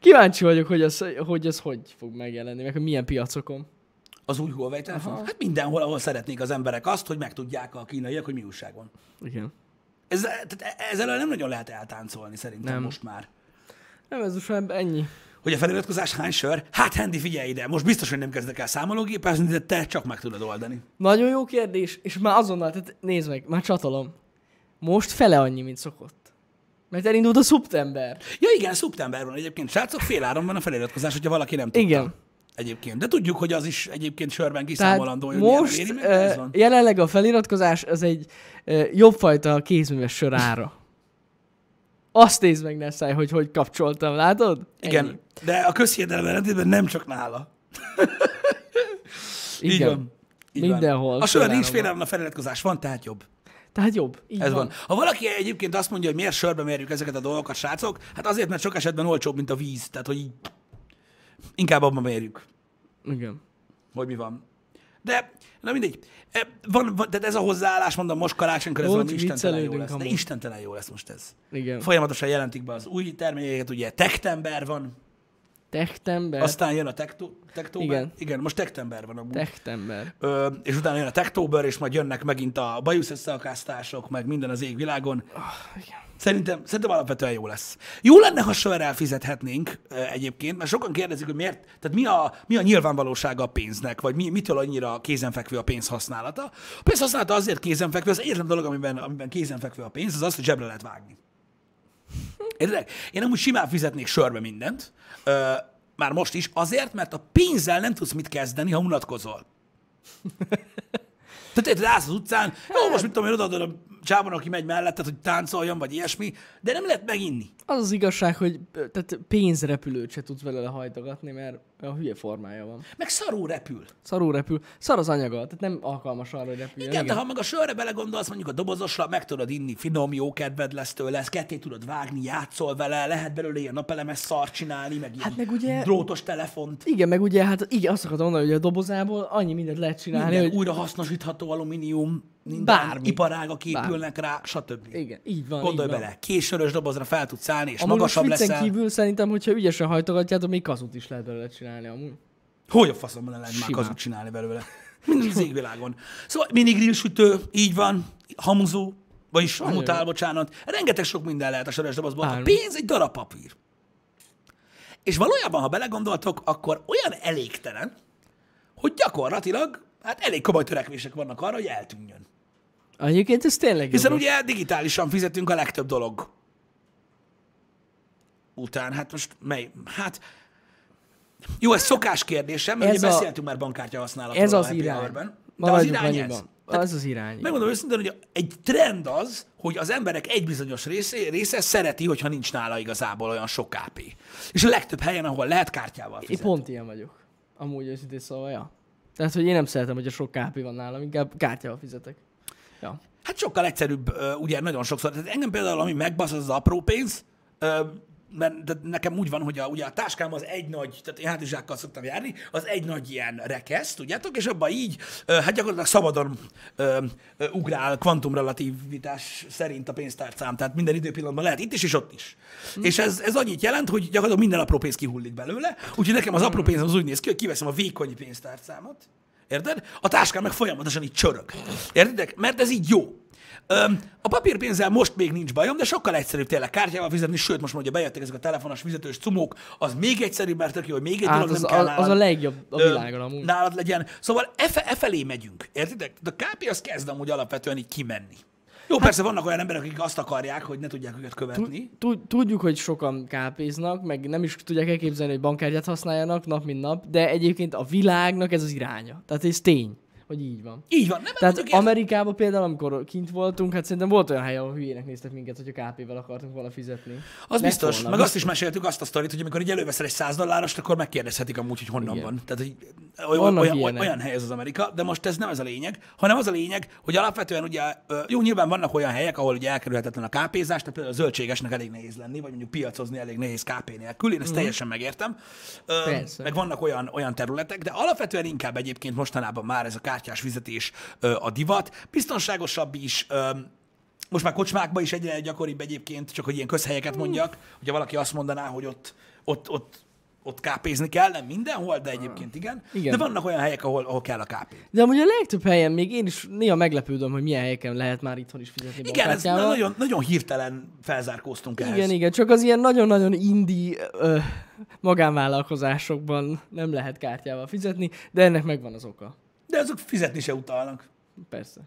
[SPEAKER 1] Kíváncsi vagyok, hogy ez hogy, ez hogy fog megjelenni, meg hogy milyen piacokon.
[SPEAKER 2] Az új Huawei telefon? Hát mindenhol, ahol szeretnék az emberek azt, hogy megtudják a kínaiak, hogy mi újság van.
[SPEAKER 1] Igen.
[SPEAKER 2] Ez, tehát e-, ezzel nem nagyon lehet eltáncolni szerintem
[SPEAKER 1] Nem.
[SPEAKER 2] nem. most már.
[SPEAKER 1] Nem, ez most már ennyi.
[SPEAKER 2] Hogy a feliratkozás hány sör? Hát, Hendi, figyelj ide, most biztos, hogy nem kezdek el számológépezni, de te csak meg tudod oldani.
[SPEAKER 1] Nagyon jó kérdés, és már azonnal, tehát nézd meg, már csatolom. Most fele annyi, mint szokott. Mert elindult a szeptember.
[SPEAKER 2] Ja igen, szeptember van egyébként. Srácok, fél áron van a feliratkozás, hogyha valaki nem tudta.
[SPEAKER 1] Igen.
[SPEAKER 2] Egyébként. De tudjuk, hogy az is egyébként sörben
[SPEAKER 1] Tehát
[SPEAKER 2] kiszámolandó, hogy
[SPEAKER 1] most
[SPEAKER 2] milyen éri, meg,
[SPEAKER 1] eh,
[SPEAKER 2] ez van.
[SPEAKER 1] jelenleg a feliratkozás az egy eh, jobbfajta kézműves sör ára. Azt nézd meg, ne száj, hogy hogy kapcsoltam, látod?
[SPEAKER 2] Igen,
[SPEAKER 1] Ennyi.
[SPEAKER 2] de a közhiedelem ellentétben nem csak nála. Így
[SPEAKER 1] Igen.
[SPEAKER 2] van. Így
[SPEAKER 1] Mindenhol
[SPEAKER 2] Van. A sör
[SPEAKER 1] fél
[SPEAKER 2] nincs
[SPEAKER 1] áron
[SPEAKER 2] fél áron, a feliratkozás van, tehát jobb.
[SPEAKER 1] Tehát jobb. Így
[SPEAKER 2] Ez
[SPEAKER 1] van.
[SPEAKER 2] van. Ha valaki egyébként azt mondja, hogy miért sörbe mérjük ezeket a dolgokat, srácok, hát azért, mert sok esetben olcsóbb, mint a víz. Tehát, hogy így inkább abban mérjük.
[SPEAKER 1] Igen.
[SPEAKER 2] hogy mi van. De, na mindegy. E, Van, van, tehát ez a hozzáállás, mondom, most karácsonykor ez
[SPEAKER 1] Jó,
[SPEAKER 2] valami istentelen jó
[SPEAKER 1] viccelődünk
[SPEAKER 2] lesz. De
[SPEAKER 1] amúgy.
[SPEAKER 2] istentelen jó lesz most ez.
[SPEAKER 1] Igen.
[SPEAKER 2] Folyamatosan jelentik be az új termékeket, ugye Tektember van,
[SPEAKER 1] Techtember.
[SPEAKER 2] aztán jön a Tekto- Tektober.
[SPEAKER 1] Igen.
[SPEAKER 2] Igen. Igen, most Tektember van amúgy.
[SPEAKER 1] Techtember.
[SPEAKER 2] Ö, és utána jön a Tektober, és majd jönnek megint a bajusz összeakasztások, meg minden az égvilágon. Szerintem, szerintem alapvetően jó lesz. Jó lenne, ha sörrel fizethetnénk ö, egyébként, mert sokan kérdezik, hogy miért, tehát mi a, mi a nyilvánvalósága a pénznek, vagy mi, mitől annyira kézenfekvő a pénz használata. A pénz használata azért kézenfekvő, az egyetlen dolog, amiben, amiben kézenfekvő a pénz, az az, hogy zsebre lehet vágni. Érted? Én amúgy simán fizetnék sörbe mindent, ö, már most is, azért, mert a pénzzel nem tudsz mit kezdeni, ha unatkozol. Tehát érted, állsz az utcán,
[SPEAKER 1] Hát.
[SPEAKER 2] jó, most mit tudom én, odaadod a csávon, aki megy melletted, hogy táncoljon, vagy ilyesmi, de nem lehet meginni.
[SPEAKER 1] Az az igazság, hogy ö, tehát pénzrepülőt se tudsz belőle hajtogatni, mert a hülye formája van.
[SPEAKER 2] Meg szarú repül.
[SPEAKER 1] Szarul repül. Szar az anyaga, tehát nem alkalmas arra, hogy repüljön.
[SPEAKER 2] Igen, igen, de ha meg a sörre belegondolsz, mondjuk a dobozosra meg tudod inni, finom, jó kedved lesz tőle, ezt ketté tudod vágni, játszol vele, lehet belőle ilyen napelemes szart csinálni, meg ilyen
[SPEAKER 1] Hát meg ugye-
[SPEAKER 2] drótos telefont.
[SPEAKER 1] Igen, meg ugye, hát igen, azt akartam mondani, hogy a dobozából annyi mindent lehet csinálni,
[SPEAKER 2] Minden
[SPEAKER 1] hogy...
[SPEAKER 2] újra hasznosítható alumínium, minden
[SPEAKER 1] Bármi.
[SPEAKER 2] iparágak
[SPEAKER 1] Bármi.
[SPEAKER 2] épülnek rá, stb.
[SPEAKER 1] Igen, így van.
[SPEAKER 2] Gondolj
[SPEAKER 1] így van.
[SPEAKER 2] bele, késörös dobozra fel tudsz állni, és
[SPEAKER 1] Amúgy most
[SPEAKER 2] magasabb
[SPEAKER 1] viccen
[SPEAKER 2] leszel.
[SPEAKER 1] kívül szerintem, hogyha ügyesen hajtogatjátok, még kazut is lehet belőle csinálni amúgy.
[SPEAKER 2] Hogy a faszomban ne lehet már
[SPEAKER 1] Simán.
[SPEAKER 2] kazut csinálni belőle? Minden az égvilágon. Szóval mini grillsütő, így van, hamuzó, vagyis hamutál, bocsánat. Rengeteg sok minden lehet a sörös dobozban. A
[SPEAKER 1] Áron.
[SPEAKER 2] pénz egy darab papír. És valójában, ha belegondoltok, akkor olyan elégtelen, hogy gyakorlatilag hát elég komoly törekvések vannak arra, hogy eltűnjön.
[SPEAKER 1] Egyébként ez tényleg
[SPEAKER 2] Hiszen
[SPEAKER 1] jogos.
[SPEAKER 2] ugye digitálisan fizetünk a legtöbb dolog után. Hát most mely? Hát jó, ez szokás kérdése, mert
[SPEAKER 1] Ez
[SPEAKER 2] ugye
[SPEAKER 1] a-
[SPEAKER 2] beszéltünk már bankkártya használatról
[SPEAKER 1] Ez az
[SPEAKER 2] a happy
[SPEAKER 1] irány.
[SPEAKER 2] hour-ben. De az
[SPEAKER 1] Maradjunk
[SPEAKER 2] irány ez.
[SPEAKER 1] annyiban. Ez az irány.
[SPEAKER 2] Megmondom őszintén, hogy egy trend az, hogy az emberek egy bizonyos része, része szereti, hogyha nincs nála igazából olyan sok KP. És a legtöbb helyen, ahol lehet kártyával
[SPEAKER 1] Én
[SPEAKER 2] fizet.
[SPEAKER 1] pont ilyen vagyok. Amúgy őszintén szóval, ja. Tehát, hogy én nem szeretem, hogy a sok kápi van nálam, inkább kártyával fizetek. Ja.
[SPEAKER 2] Hát sokkal egyszerűbb, ö, ugye nagyon sokszor. Tehát engem például, ami megbasz, az az apró pénz, ö, mert de nekem úgy van, hogy a, ugye a táskám az egy nagy, tehát én hátizsákkal szoktam járni, az egy nagy ilyen rekeszt, tudjátok, és abban így, ö, hát gyakorlatilag szabadon ö, ö, ugrál kvantumrelativitás szerint a pénztárcám, tehát minden időpillanatban lehet itt is, és ott is. És ez, ez annyit jelent, hogy gyakorlatilag minden apró pénz kihullik belőle, úgyhogy nekem az apró pénz az úgy néz ki, hogy kiveszem a vékony pénztárcámat, Érted? A táskám meg folyamatosan így csörög. Értedek? Mert ez így jó. Öm, a papírpénzzel most még nincs bajom, de sokkal egyszerűbb tényleg kártyával fizetni, sőt, most már ugye bejöttek ezek a telefonos fizetős cumók, az még egyszerűbb, mert tök jó, hogy még egy
[SPEAKER 1] Hát
[SPEAKER 2] dolog
[SPEAKER 1] az
[SPEAKER 2] nem
[SPEAKER 1] a-
[SPEAKER 2] kell
[SPEAKER 1] az
[SPEAKER 2] nálad,
[SPEAKER 1] a legjobb a
[SPEAKER 2] ö,
[SPEAKER 1] világon amúgy.
[SPEAKER 2] Nálad legyen. Szóval e, fe, e felé megyünk, értitek? De a KP az kezd amúgy alapvetően így kimenni. Jó, persze vannak olyan emberek, akik azt akarják, hogy ne tudják őket követni.
[SPEAKER 1] Hát- Tud- Tudjuk, hogy sokan kápéznak, meg nem is tudják elképzelni, hogy bankkártyát használjanak nap mint nap, de egyébként a világnak ez az iránya. Tehát ez tény, hogy így van.
[SPEAKER 2] Így van. Nem,
[SPEAKER 1] Tehát
[SPEAKER 2] mondjuk érted?
[SPEAKER 1] Amerikában például, amikor kint voltunk, hát szerintem volt olyan hely, ahol hülyének néztek minket, hogy a KP-vel akartunk volna fizetni.
[SPEAKER 2] Az
[SPEAKER 1] Lett
[SPEAKER 2] biztos.
[SPEAKER 1] volna,
[SPEAKER 2] meg azt is meséltük, azt a sztorit, hogy amikor így előveszel egy 100 dollárost, akkor megkérdezhetik amúgy, hogy honnan
[SPEAKER 1] Igen.
[SPEAKER 2] van. Tehát, hogy olyan,
[SPEAKER 1] Vannak
[SPEAKER 2] olyan,
[SPEAKER 1] ilyenek.
[SPEAKER 2] olyan hely ez az Amerika, de most ez nem ez a lényeg, hanem az a lényeg, hogy alapvetően ugye, ö, jó, nyilván vannak olyan helyek, ahol ugye elkerülhetetlen a kápézás, tehát például a zöldségesnek elég nehéz lenni, vagy mondjuk piacozni elég nehéz kápé nélkül, én ezt teljesen megértem. Ö,
[SPEAKER 1] Mhm. Persze.
[SPEAKER 2] Meg vannak olyan, olyan területek, de alapvetően inkább egyébként mostanában már ez a kártyás fizetés ö, a divat. Biztonságosabb is, ö, most már kocsmákban is egyre gyakoribb egyébként, csak hogy ilyen közhelyeket mondjak, hogyha valaki azt mondaná, hogy ott, ott, ott, ott kápézni kell, nem mindenhol, de egyébként igen. igen.
[SPEAKER 1] Igen.
[SPEAKER 2] De vannak olyan helyek, ahol, ahol kell a kápé.
[SPEAKER 1] De amúgy a legtöbb helyen még én is néha meglepődöm, hogy milyen helyeken lehet már itthon is fizetni
[SPEAKER 2] Igen, ez
[SPEAKER 1] bankkártyával.
[SPEAKER 2] na- nagyon, nagyon hirtelen felzárkóztunk ehhez.
[SPEAKER 1] Igen, igen, csak az ilyen nagyon-nagyon indi ö, magánvállalkozásokban nem lehet kártyával fizetni, de ennek megvan az oka.
[SPEAKER 2] De azok fizetni se utalnak.
[SPEAKER 1] Persze.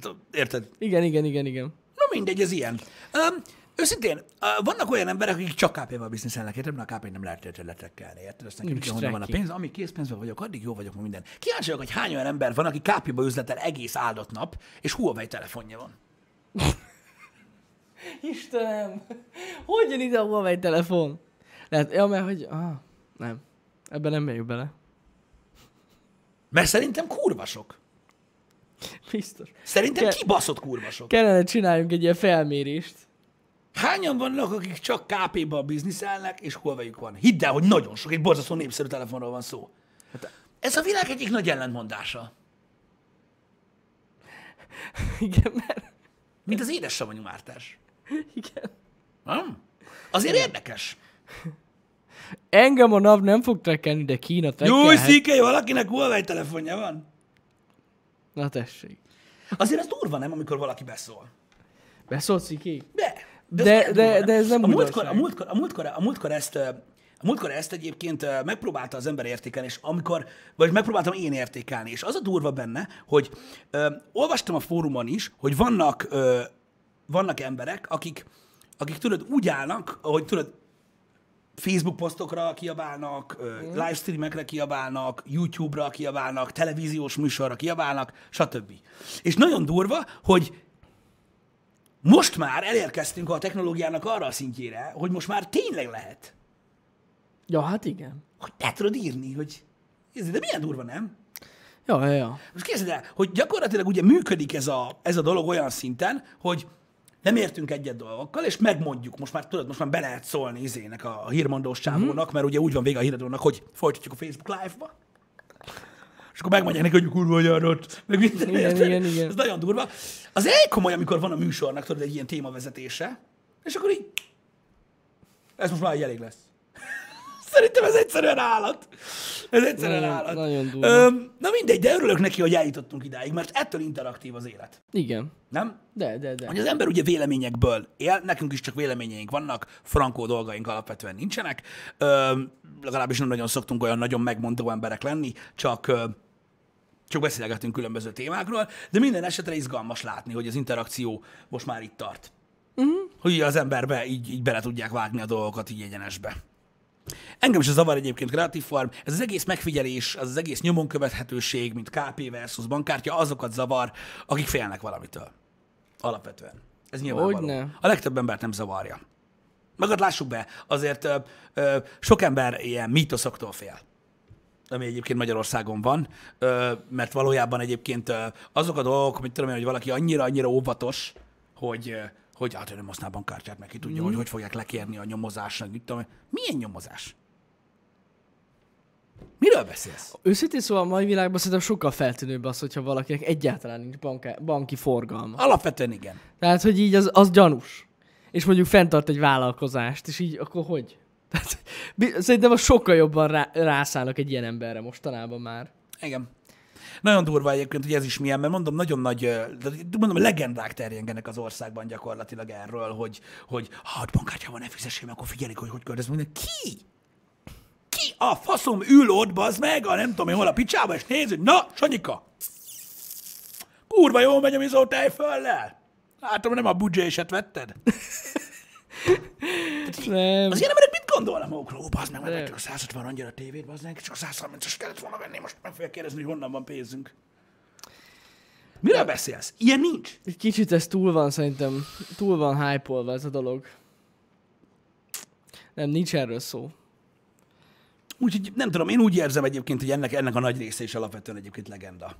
[SPEAKER 2] Tehát, érted?
[SPEAKER 1] Igen, igen, igen, igen.
[SPEAKER 2] Na mindegy, ez ilyen. Um, őszintén, uh, vannak olyan emberek, akik csak KP-val bizniszelnek, érted? Mert a KP nem lehet területekkelni, érted? Azt nekem
[SPEAKER 1] Nincs
[SPEAKER 2] kell, honnan van a
[SPEAKER 1] tracking.
[SPEAKER 2] pénz, amíg készpénzben vagyok, addig jó vagyok ma minden. Kíváncsi vagyok, hogy hány olyan ember van, aki KP-ba üzletel egész áldott nap, és Huawei telefonja van.
[SPEAKER 1] Istenem! Hogy jön ide a Huawei telefon? Lehet, ja, mert hogy... Ah, nem. Ebben nem megyünk bele.
[SPEAKER 2] Mert szerintem kurvasok.
[SPEAKER 1] Biztos.
[SPEAKER 2] Szerintem
[SPEAKER 1] Ke-
[SPEAKER 2] kibaszott kurvasok.
[SPEAKER 1] Kellene csináljunk egy ilyen felmérést.
[SPEAKER 2] Hányan vannak, akik csak KP-ba bizniszelnek, és Huawei-ük van? Hidd el, hogy nagyon sok, egy borzasztó népszerű telefonról van szó.
[SPEAKER 1] Hát-
[SPEAKER 2] Ez a világ egyik nagy ellentmondása.
[SPEAKER 1] Igen, mert...
[SPEAKER 2] Mint az édesavanyú mártás.
[SPEAKER 1] Igen.
[SPEAKER 2] Nem? Azért érdekes.
[SPEAKER 1] Engem a NAV nem fog trekkelni, de Kína
[SPEAKER 2] Jó,
[SPEAKER 1] trekkelhet.
[SPEAKER 2] székely, valakinek Huawei telefonja van?
[SPEAKER 1] Na tessék.
[SPEAKER 2] Azért ez durva, nem, amikor valaki beszól.
[SPEAKER 1] Beszólt szikék?
[SPEAKER 2] De,
[SPEAKER 1] De-
[SPEAKER 2] milyen
[SPEAKER 1] de-
[SPEAKER 2] durva,
[SPEAKER 1] de ez nem
[SPEAKER 2] a múltkor, a
[SPEAKER 1] újdonság.
[SPEAKER 2] múltkor, a múltkor, a múltkor ezt ö, a múltkor ezt egyébként ö, megpróbálta az ember értékelni, és amikor, vagy megpróbáltam én értékelni, és az a durva benne, hogy ö, olvastam a fórumon is, hogy vannak ö, vannak emberek, akik, akik tudod, úgy állnak, hogy tudod, Facebook posztokra kiabálnak, ö,
[SPEAKER 1] Mm.
[SPEAKER 2] livestreamekre kiabálnak, YouTube-ra kiabálnak, televíziós műsorra kiabálnak, stb. És nagyon durva, hogy most már elérkeztünk a technológiának arra a szintjére, hogy most már tényleg lehet,
[SPEAKER 1] Ja, hát igen.
[SPEAKER 2] hogy le tudod írni, hogy ez de milyen durva, nem?
[SPEAKER 1] Ja, ja, ja.
[SPEAKER 2] Most képzeld el, hogy gyakorlatilag ugye működik ez a, ez a dolog olyan szinten, hogy nem értünk egyet dolgokkal, és megmondjuk, most már tudod, most már be lehet szólni izének a, a hírmondós
[SPEAKER 1] Mhm.
[SPEAKER 2] csávónak, mert ugye úgy van vége a híradónak, hogy folytatjuk a Facebook live-ba, és akkor megmondják neki, hogy kurva gyarott, meg minden.
[SPEAKER 1] Igen,
[SPEAKER 2] érted?
[SPEAKER 1] igen, igen.
[SPEAKER 2] Ez nagyon durva. Az elég komoly, amikor van a műsornak, tudod, egy ilyen témavezetése, és akkor így, ez most már így elég lesz. [laughs] Szerintem ez egyszerűen állat. Ez egyszerűen
[SPEAKER 1] Nagyon-
[SPEAKER 2] állat.
[SPEAKER 1] nagyon durva.
[SPEAKER 2] Öm, na mindegy, de örülök neki, hogy eljutottunk idáig, mert ettől interaktív az élet.
[SPEAKER 1] Igen.
[SPEAKER 2] Nem?
[SPEAKER 1] De, de, de.
[SPEAKER 2] Hogy az ember ugye véleményekből él, nekünk is csak véleményeink vannak, frankó dolgaink alapvetően nincsenek, ö, legalábbis nem nagyon szoktunk olyan nagyon megmondó emberek lenni, csak, ö, csak beszélgetünk különböző témákról, de minden esetre izgalmas látni, hogy az interakció most már itt tart. Uh-huh. Hogy az emberbe így, így bele tudják vágni a dolgokat így egyenesbe. Engem is zavar egyébként Creative Farm, ez az egész megfigyelés, az, az egész nyomon követhetőség, mint KP versus bankkártya, azokat zavar, akik félnek valamitől. Alapvetően. Ez nyilvánvaló.
[SPEAKER 1] Hogyne.
[SPEAKER 2] A legtöbb embert nem zavarja. Magad lássuk be, azért ö, ö, sok ember ilyen mítoszoktól fél ami egyébként Magyarországon van, ö, mert valójában egyébként ö, azok a dolgok, amit tudom én, hogy valaki annyira-annyira óvatos, hogy, ö, hogy hát ő nem használ bankkártyát, meg ki tudja, hogy hogy fogják lekérni a nyomozásnak, mit tudom én. Milyen nyomozás? Miről beszélsz?
[SPEAKER 1] Őszintén szóval a mai világban szerintem sokkal feltűnőbb az, hogyha valakinek egyáltalán nincs banka, banki forgalma.
[SPEAKER 2] Alapvetően igen.
[SPEAKER 1] Tehát, hogy így az, az gyanús. És mondjuk fenntart egy vállalkozást, és így akkor hogy? Tehát, bi- szerintem az sokkal jobban rá, rászállnak egy ilyen emberre mostanában már.
[SPEAKER 2] Igen. Nagyon durva egyébként, hogy ez is milyen, mert mondom, nagyon nagy, ö, de mondom, legendák terjengenek az országban gyakorlatilag erről, hogy, hogy ha ott bankkártya van, ne fizessél, mert akkor figyelik, hogy hogy köldöz minden. Ki? Ki a faszom ül ott, bazd meg, a nem tudom én hol a picsába, és néz, hogy na, Sanyika, kurva jól megy a mizó tejföllel. Látom, nem a budzséset vetted.
[SPEAKER 1] Nem.
[SPEAKER 2] Az ilyen emberek mit gondolnak magukról? Ó, bazd meg,
[SPEAKER 1] Nem.
[SPEAKER 2] megvettük a 160 angyal a tévét, bazd meg, csak a 130-as kellett volna venni, most meg fogja kérdezni, hogy honnan van pénzünk. Miről beszélsz? Ilyen nincs.
[SPEAKER 1] Egy kicsit ez túl van szerintem, túl van hype ez a dolog. Nem, nincs erről szó.
[SPEAKER 2] Úgyhogy nem tudom, én úgy érzem egyébként, hogy ennek, ennek a nagy része is alapvetően egyébként legenda.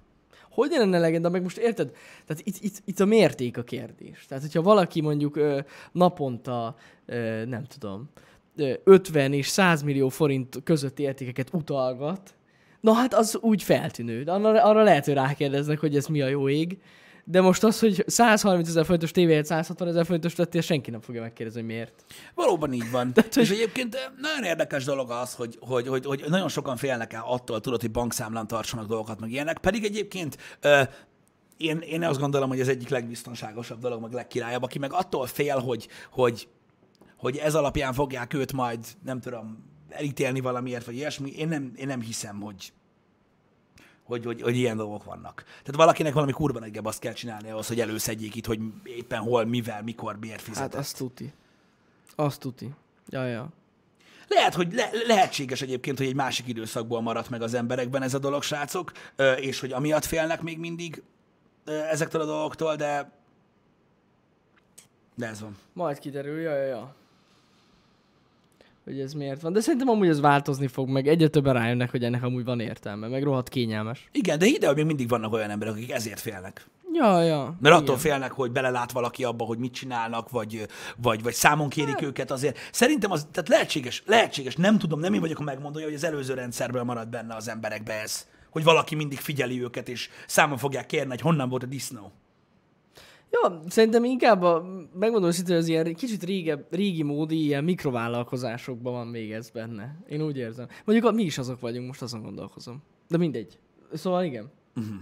[SPEAKER 1] Hogy lenne legenda, meg most érted? Tehát itt, itt, itt a mérték a kérdés. Tehát, hogyha valaki mondjuk ö, naponta, ö, nem tudom, ö, 50 és 100 millió forint közötti értékeket utalgat, na hát az úgy feltűnő. De Arra, arra lehet, hogy rákérdeznek, hogy ez mi a jó ég. De most az, hogy 130 ezer forintos tévéért 160 ezer forintos lettél, senki nem fogja megkérdezni, hogy miért.
[SPEAKER 2] Valóban így van. Tehát, és egyébként eh, nagyon érdekes dolog az, hogy, hogy, hogy, hogy nagyon sokan félnek el attól, tudod, hogy bankszámlán tartsanak dolgokat, meg ilyenek. Pedig egyébként ö, én, én azt gondolom, hogy ez egyik legbiztonságosabb dolog, meg legkirályabb, aki meg attól fél, hogy, hogy, hogy ez alapján fogják őt majd, nem tudom, elítélni valamiért, vagy ilyesmi. Én nem, én nem hiszem, hogy, hogy, hogy, hogy ilyen dolgok vannak. Tehát valakinek valami kurva nagy azt kell csinálni ahhoz, hogy előszedjék itt, hogy éppen hol, mivel, mikor, miért fizetett.
[SPEAKER 1] Hát azt tuti. Azt tuti. Ja, ja.
[SPEAKER 2] Lehet, hogy le- lehetséges egyébként, hogy egy másik időszakból maradt meg az emberekben ez a dolog, srácok, ö, és hogy amiatt félnek még mindig ö, ezektől a dolgoktól, de de ez van.
[SPEAKER 1] Majd kiderül, ja, ja, ja. Hogy ez miért van. De szerintem amúgy ez változni fog, meg egyre többen rájönnek, hogy ennek amúgy van értelme, meg rohadt kényelmes.
[SPEAKER 2] Igen, de ide, hogy még mindig vannak olyan emberek, akik ezért félnek.
[SPEAKER 1] Ja, ja.
[SPEAKER 2] Mert attól félnek, hogy belelát valaki abba, hogy mit csinálnak, vagy, vagy, vagy számon kérik őket azért. Szerintem az, tehát lehetséges, lehetséges, nem tudom, nem én vagyok a megmondója, hogy az előző rendszerből maradt benne az emberekbe ez, hogy valaki mindig figyeli őket, és számon fogják kérni, hogy honnan volt a disznó.
[SPEAKER 1] Ja, szerintem inkább, a, megmondom szintén, hogy az ilyen kicsit régebb, régi módi ilyen mikrovállalkozásokban van még ez benne. Én úgy érzem. Mondjuk a, mi is azok vagyunk, most azon gondolkozom. De mindegy. Szóval igen. Uh-huh.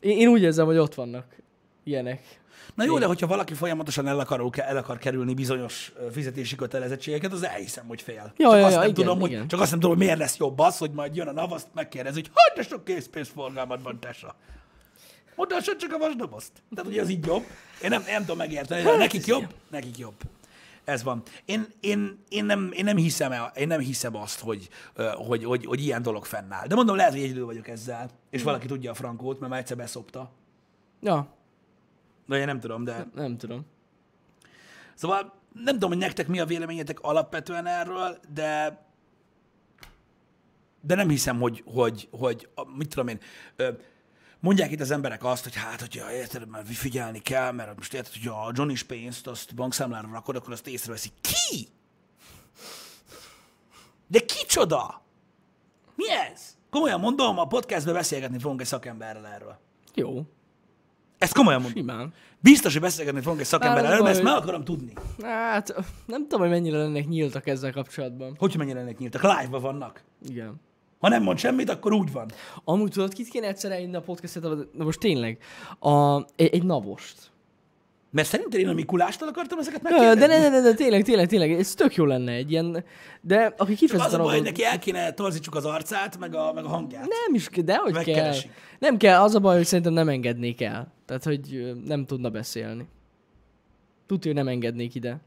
[SPEAKER 1] Én, én úgy érzem, hogy ott vannak ilyenek.
[SPEAKER 2] Na jó, de hogyha valaki folyamatosan el akar, el akar kerülni bizonyos ö, fizetési kötelezettségeket, az elhiszem, hogy fél.
[SPEAKER 1] Ja,
[SPEAKER 2] csak,
[SPEAKER 1] ja,
[SPEAKER 2] azt
[SPEAKER 1] ja,
[SPEAKER 2] nem
[SPEAKER 1] igen,
[SPEAKER 2] tudom,
[SPEAKER 1] igen.
[SPEAKER 2] Hogy, csak azt nem tudom, hogy miért lesz jobb az, hogy majd jön a NAV, azt megkérdez, hogy hogy de sok készpénzforgalmad van, tesa. Mutassad csak a vasdobozt. Tehát ugye az így jobb. Én nem, nem tudom megérteni,
[SPEAKER 1] Hát,
[SPEAKER 2] de nekik jobb, nekik jobb. Ez van. Én, én, én, nem, én, nem, hiszem el, én nem hiszem azt, hogy, ö, hogy, hogy, hogy ilyen dolog fennáll. De mondom, lehet, hogy egyedül vagyok ezzel,
[SPEAKER 1] Hm.
[SPEAKER 2] és valaki tudja a frankót, mert már egyszer beszopta.
[SPEAKER 1] Ja,
[SPEAKER 2] De én nem tudom, de...
[SPEAKER 1] nem tudom.
[SPEAKER 2] Szóval nem tudom, hogy nektek mi a véleményetek alapvetően erről, de de nem hiszem, hogy, hogy, hogy a- mit tudom én, ö, mondják itt az emberek azt, hogy hát, hogyha érted, mert figyelni kell, mert most érted, hogy a Johnny is pénzt azt bankszámlára rakod, akkor azt észreveszi. Ki? De kicsoda? Mi ez? Komolyan mondom, a podcastben beszélgetni fogunk egy szakemberrel erről.
[SPEAKER 1] Jó.
[SPEAKER 2] Ezt komolyan mondom.
[SPEAKER 1] Simán.
[SPEAKER 2] Biztos, hogy beszélgetni fogunk egy szakemberrel,
[SPEAKER 1] Á,
[SPEAKER 2] erről, mert ezt
[SPEAKER 1] baj.
[SPEAKER 2] meg akarom tudni.
[SPEAKER 1] Hát, nem tudom, hogy mennyire lennék nyíltak ezzel kapcsolatban.
[SPEAKER 2] Hogy mennyire ennek nyíltak? Live-ba vannak.
[SPEAKER 1] Igen.
[SPEAKER 2] Ha nem mond semmit, akkor úgy van.
[SPEAKER 1] Amúgy tudod, kit kéne egyszer elhívni a podcastet, de most tényleg, a, egy, egy navost.
[SPEAKER 2] Mert szerintem én a Mikulástól akartam ezeket
[SPEAKER 1] Ö,
[SPEAKER 2] megkérdezni.
[SPEAKER 1] De ne, ne, ne, de tényleg, tényleg, tényleg, ez tök jó lenne egy ilyen, de aki
[SPEAKER 2] Az
[SPEAKER 1] kifejezetten
[SPEAKER 2] a baj, hogy
[SPEAKER 1] abban-
[SPEAKER 2] neki hát el kéne torzítsuk az arcát, meg a, meg a hangját.
[SPEAKER 1] Nem is, ke- de hogy kell.
[SPEAKER 2] Megkeresik.
[SPEAKER 1] Nem kell, az a baj, hogy szerintem nem engednék el. Tehát, hogy ö, nem tudna beszélni. Tudja, hogy nem engednék ide.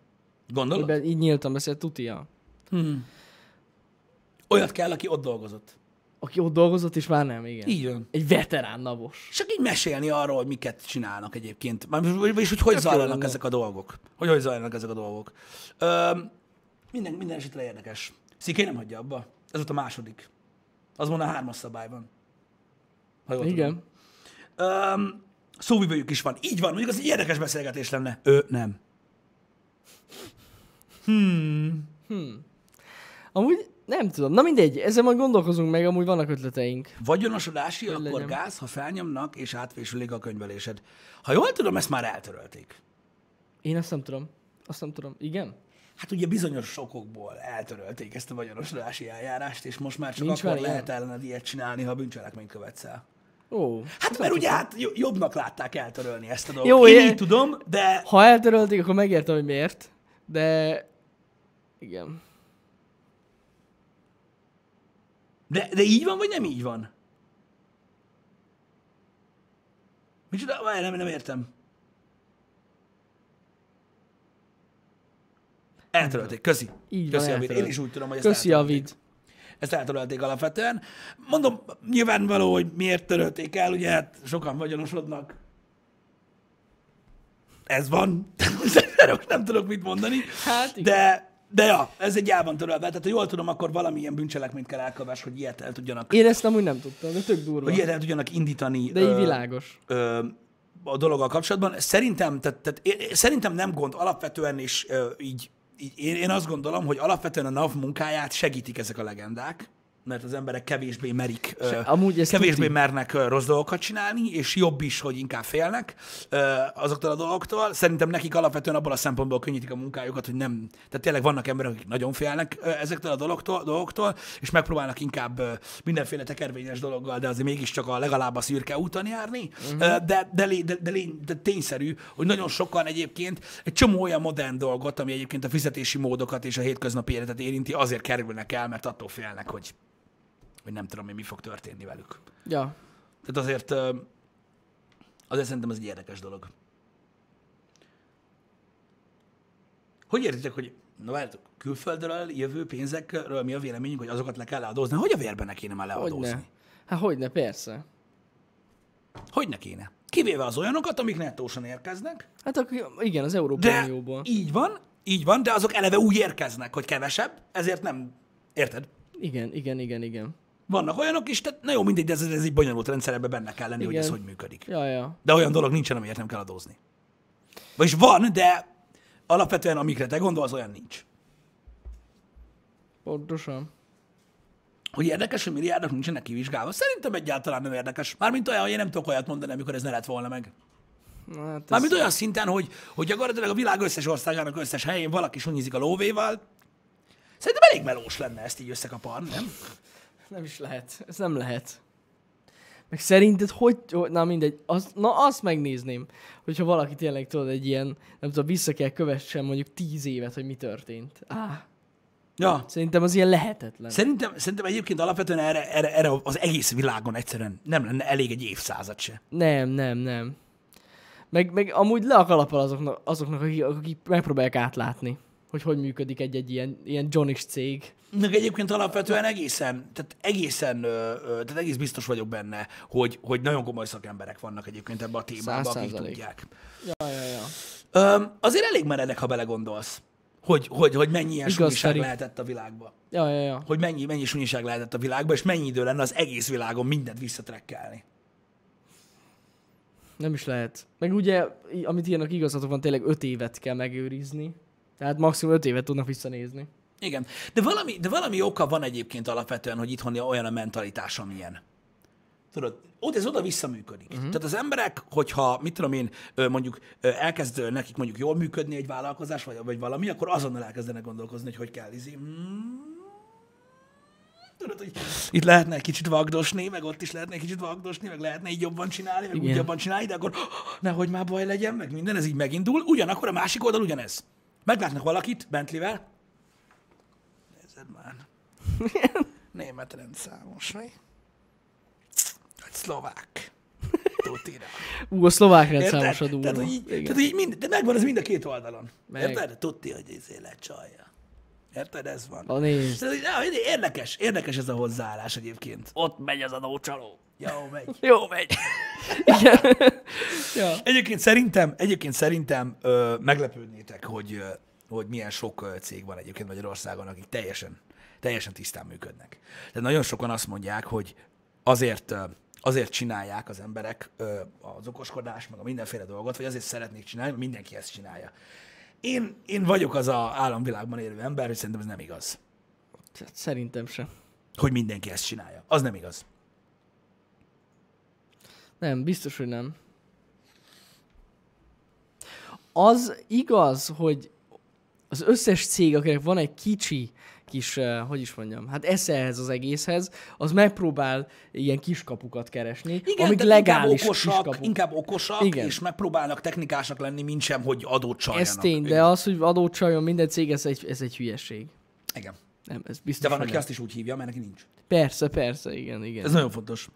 [SPEAKER 2] Gondolod?
[SPEAKER 1] Ebben így nyíltan beszél, tudja.
[SPEAKER 2] Olyat kell, aki ott dolgozott.
[SPEAKER 1] Aki ott dolgozott, és már nem, igen.
[SPEAKER 2] Így van.
[SPEAKER 1] Egy veterán navos.
[SPEAKER 2] És csak így mesélni arról, hogy miket csinálnak egyébként. Már- Vagyis, hogy hogy
[SPEAKER 1] jó
[SPEAKER 2] zajlanak
[SPEAKER 1] lenne.
[SPEAKER 2] ezek a dolgok. Hogy hogy zajlanak ezek a dolgok. Ö, minden, minden esetre érdekes. Sziké nem hagyja abba. Ez volt a második. Az volna a hármas szabályban. Ha jól tudom.
[SPEAKER 1] Igen.
[SPEAKER 2] Öm, szóvivőjük is van. Így van, mondjuk az egy érdekes beszélgetés lenne. Ő nem.
[SPEAKER 1] Amúgy nem tudom. Na mindegy, ezzel majd gondolkozunk meg, amúgy vannak ötleteink.
[SPEAKER 2] Vagyonosodási,
[SPEAKER 1] Hogy
[SPEAKER 2] akkor legyen.
[SPEAKER 1] legyen.
[SPEAKER 2] gáz, ha felnyomnak és átvésülik a könyvelésed. Ha jól tudom, ezt már eltörölték.
[SPEAKER 1] Én azt nem tudom. Azt nem tudom. Igen?
[SPEAKER 2] Hát ugye bizonyos okokból eltörölték ezt a vagyonosodási eljárást, és most már csak
[SPEAKER 1] Nincs
[SPEAKER 2] akkor
[SPEAKER 1] már ilyen?
[SPEAKER 2] lehet ellened ilyet csinálni, ha bűncselekményt követsz el.
[SPEAKER 1] Ó.
[SPEAKER 2] Hát mert ugye hát jo- jobbnak látták eltörölni ezt a dolgot.
[SPEAKER 1] Jó,
[SPEAKER 2] Én
[SPEAKER 1] ilyen-
[SPEAKER 2] így tudom, de
[SPEAKER 1] Ha eltörölték, akkor megértem, hogy miért. De... Igen.
[SPEAKER 2] De, de így van, vagy nem így van? Micsoda? Várj, nem, nem értem. Eltörölték, közi.
[SPEAKER 1] Így
[SPEAKER 2] közi
[SPEAKER 1] van,
[SPEAKER 2] Avid. Én
[SPEAKER 1] eltörölt.
[SPEAKER 2] is úgy tudom, hogy ezt
[SPEAKER 1] Köszi,
[SPEAKER 2] eltörölték.
[SPEAKER 1] Avid.
[SPEAKER 2] Ezt eltörölték alapvetően. Mondom, nyilvánvaló, hogy miért törölték el, ugye hát sokan vagyonosodnak. Ez van. [laughs] Erről most nem tudok mit mondani.
[SPEAKER 1] Hát igen.
[SPEAKER 2] de, de ja, ez egy el van törölve. Tehát ha jól tudom, akkor valamilyen bűncselekményt kell elkövess, hogy ilyet el tudjanak,
[SPEAKER 1] Én ezt amúgy nem tudtam, de tök durva.
[SPEAKER 2] hogy ilyet el tudjanak indítani.
[SPEAKER 1] De így
[SPEAKER 2] ö,
[SPEAKER 1] világos.
[SPEAKER 2] ö, a dologgal kapcsolatban. Szerintem, tehát, tehát, én- én- szerintem nem gond alapvetően, és ö, így, így én, én azt gondolom, hogy alapvetően a NAV munkáját segítik ezek a legendák, mert az emberek kevésbé merik, ö,
[SPEAKER 1] amúgy ez
[SPEAKER 2] kevésbé
[SPEAKER 1] tuti.
[SPEAKER 2] mernek ö, rossz dolgokat csinálni, és jobb is, hogy inkább félnek ö, azoktól a dolgoktól. Szerintem nekik alapvetően abból a szempontból könnyítik a munkájukat, hogy nem, tehát tényleg vannak emberek, akik nagyon félnek ö, ezektől a dologtól, dolgoktól, és megpróbálnak inkább ö, mindenféle tekervényes dologgal, de azért mégiscsak a legalább a szürke úton járni. Ö, De, de, lé- de, de, lény- de tényszerű, hogy nagyon sokan egyébként egy csomó olyan modern dolgot, ami egyébként a fizetési módokat és a hétköznapi életet érinti, azért kerülnek el, mert attól félnek, hogy, hogy nem tudom, hogy mi fog történni velük.
[SPEAKER 1] Ja.
[SPEAKER 2] Tehát azért, ö, azért szerintem ez egy érdekes dolog. Hogy értitek, hogy na várjátok, külföldről jövő pénzekről mi a véleményünk, hogy azokat le kell adózni? Hogy a vérben ne kéne már leadózni?
[SPEAKER 1] Hogyne. Hát hogyne, persze.
[SPEAKER 2] Hogy ne kéne? Kivéve az olyanokat, amik nettósan érkeznek,
[SPEAKER 1] Hát akkor igen, az Európai
[SPEAKER 2] de
[SPEAKER 1] Unióból.
[SPEAKER 2] így van, így van, de azok eleve úgy érkeznek, hogy kevesebb, ezért nem, érted?
[SPEAKER 1] Igen, igen, igen, igen.
[SPEAKER 2] Vannak olyanok is, tehát na jó, mindegy, de ez, ez egy bonyolult rendszer, ebbe benne kell lenni, hogy
[SPEAKER 1] Igen.
[SPEAKER 2] ez hogy működik.
[SPEAKER 1] Ja, ja.
[SPEAKER 2] De olyan dolog nincsen, amiért nem kell adózni. Vagyis van, de alapvetően amikre te gondolsz, olyan nincs.
[SPEAKER 1] Pontosan.
[SPEAKER 2] Hogy érdekes, hogy milliárdok nincsenek kivizsgálva? Szerintem egyáltalán nem érdekes. Mármint olyan, hogy én nem tudok olyat mondani, amikor ez ne lett volna meg.
[SPEAKER 1] Na, hát ez...
[SPEAKER 2] Mármint olyan szinten, hogy, hogy gyakorlatilag a világ összes országának összes helyén valaki sunyizik a lóvéval. Szerintem elég melós lenne ezt így összekaparni, nem?
[SPEAKER 1] Nem is lehet. Ez nem lehet. Meg szerinted hogy... hogy- Na mindegy. Az, na azt megnézném, hogyha valaki tényleg tudod egy ilyen, nem tudom, vissza kell kövessen mondjuk tíz évet, hogy mi történt. Á,
[SPEAKER 2] Ja.
[SPEAKER 1] szerintem az ilyen lehetetlen.
[SPEAKER 2] Szerintem, szerintem egyébként alapvetően erre, erre, erre az egész világon egyszerűen nem lenne elég egy évszázad se.
[SPEAKER 1] Nem, nem, nem. Meg, meg amúgy le a kalappal azoknak, azoknak akik, akik megpróbálják átlátni, hogy hogy működik egy-egy ilyen, ilyen Johnis cég.
[SPEAKER 2] Meg egyébként alapvetően egészen, tehát egészen, ö, ö, tehát egész biztos vagyok benne, hogy, hogy nagyon komoly szakemberek vannak egyébként ebben a témában,
[SPEAKER 1] Száz
[SPEAKER 2] akik
[SPEAKER 1] százalék.
[SPEAKER 2] tudják.
[SPEAKER 1] Ja, ja, ja.
[SPEAKER 2] Öm, azért elég meredek, ha belegondolsz, hogy, hogy, hogy mennyi ilyen
[SPEAKER 1] Igaz,
[SPEAKER 2] sunyiság
[SPEAKER 1] Feri.
[SPEAKER 2] lehetett a világban.
[SPEAKER 1] Ja, ja, ja.
[SPEAKER 2] Hogy mennyi, mennyi sunyiság lehetett a világban, és mennyi idő lenne az egész világon mindent visszatrekkelni.
[SPEAKER 1] Nem is lehet. Meg ugye, í- amit írnak igazatok van, tényleg öt évet kell megőrizni. Tehát maximum öt évet tudnak visszanézni.
[SPEAKER 2] Igen. De valami, de valami oka van egyébként alapvetően, hogy itthon olyan a mentalitás, amilyen. Tudod, ott ez oda-vissza működik. Uh-huh. Tehát az emberek, hogyha, mit tudom én, ö, mondjuk ö, elkezd ö, nekik mondjuk jól működni egy vállalkozás, vagy, vagy valami, akkor azonnal elkezdenek gondolkozni, hogy hogy kell izé. Hmm. Tudod, hogy itt lehetne egy kicsit vagdosni, meg ott is lehetne egy kicsit vagdosni, meg lehetne így jobban csinálni, meg úgy
[SPEAKER 1] Igen.
[SPEAKER 2] jobban csinálni, de akkor "Ah, nehogy már baj legyen, meg minden, ez így megindul. Ugyanakkor a másik oldal ugyanez. Meglátnak valakit Bentleyvel, nézed már. Német rendszámos, mi? Egy
[SPEAKER 1] [laughs]
[SPEAKER 2] szlovák. Tutira.
[SPEAKER 1] Ú, a szlovák
[SPEAKER 2] Érted?
[SPEAKER 1] rendszámos a
[SPEAKER 2] Tehát,
[SPEAKER 1] durva.
[SPEAKER 2] hogy így,
[SPEAKER 1] Igen.
[SPEAKER 2] tehát, hogy így mind, de megvan ez mind a két oldalon.
[SPEAKER 1] Meg.
[SPEAKER 2] Érted? Tudti, hogy ez lecsalja. Érted? Ez van.
[SPEAKER 1] A nézd.
[SPEAKER 2] Tehát, hogy- á, Érdekes, érdekes ez a hozzáállás egyébként.
[SPEAKER 1] Ott megy az adócsaló.
[SPEAKER 2] Jó, megy.
[SPEAKER 1] [laughs] Jó megy. Igen. ja.
[SPEAKER 2] Egyébként szerintem, egyébként szerintem ö, meglepődnétek, hogy, ö, hogy milyen sok ö, cég van egyébként Magyarországon, akik teljesen, teljesen tisztán működnek. Tehát nagyon sokan azt mondják, hogy azért, ö, azért csinálják az emberek ö, az okoskodás, meg a mindenféle dolgot, vagy azért szeretnék csinálni, mert mindenki ezt csinálja. Én, én vagyok az a államvilágban élő ember, hogy szerintem ez nem igaz,
[SPEAKER 1] hát Szerintem sem.
[SPEAKER 2] hogy mindenki ezt csinálja. Az nem igaz.
[SPEAKER 1] Nem, biztos, hogy nem. Az igaz, hogy az összes cég, akinek van egy kicsi kis, eh, hogy is mondjam, hát eszehez az egészhez, az megpróbál ilyen kiskapukat keresni, amik
[SPEAKER 2] tehát inkább
[SPEAKER 1] legális
[SPEAKER 2] okosak,
[SPEAKER 1] kiskapuk.
[SPEAKER 2] inkább okosak,
[SPEAKER 1] Igen.
[SPEAKER 2] Igen. és megpróbálnak technikásnak lenni, mint sem, hogy adót csaljanak.
[SPEAKER 1] Ez tény, de az, hogy adót csaljon minden cég, ez egy, ez egy hülyeség.
[SPEAKER 2] Igen.
[SPEAKER 1] Nem, ez
[SPEAKER 2] De
[SPEAKER 1] biztos,
[SPEAKER 2] van,
[SPEAKER 1] hogy
[SPEAKER 2] aki
[SPEAKER 1] nem.
[SPEAKER 2] azt is úgy hívja, mert neki nincs.
[SPEAKER 1] Persze, persze, igen, igen.
[SPEAKER 2] Ez nagyon fontos.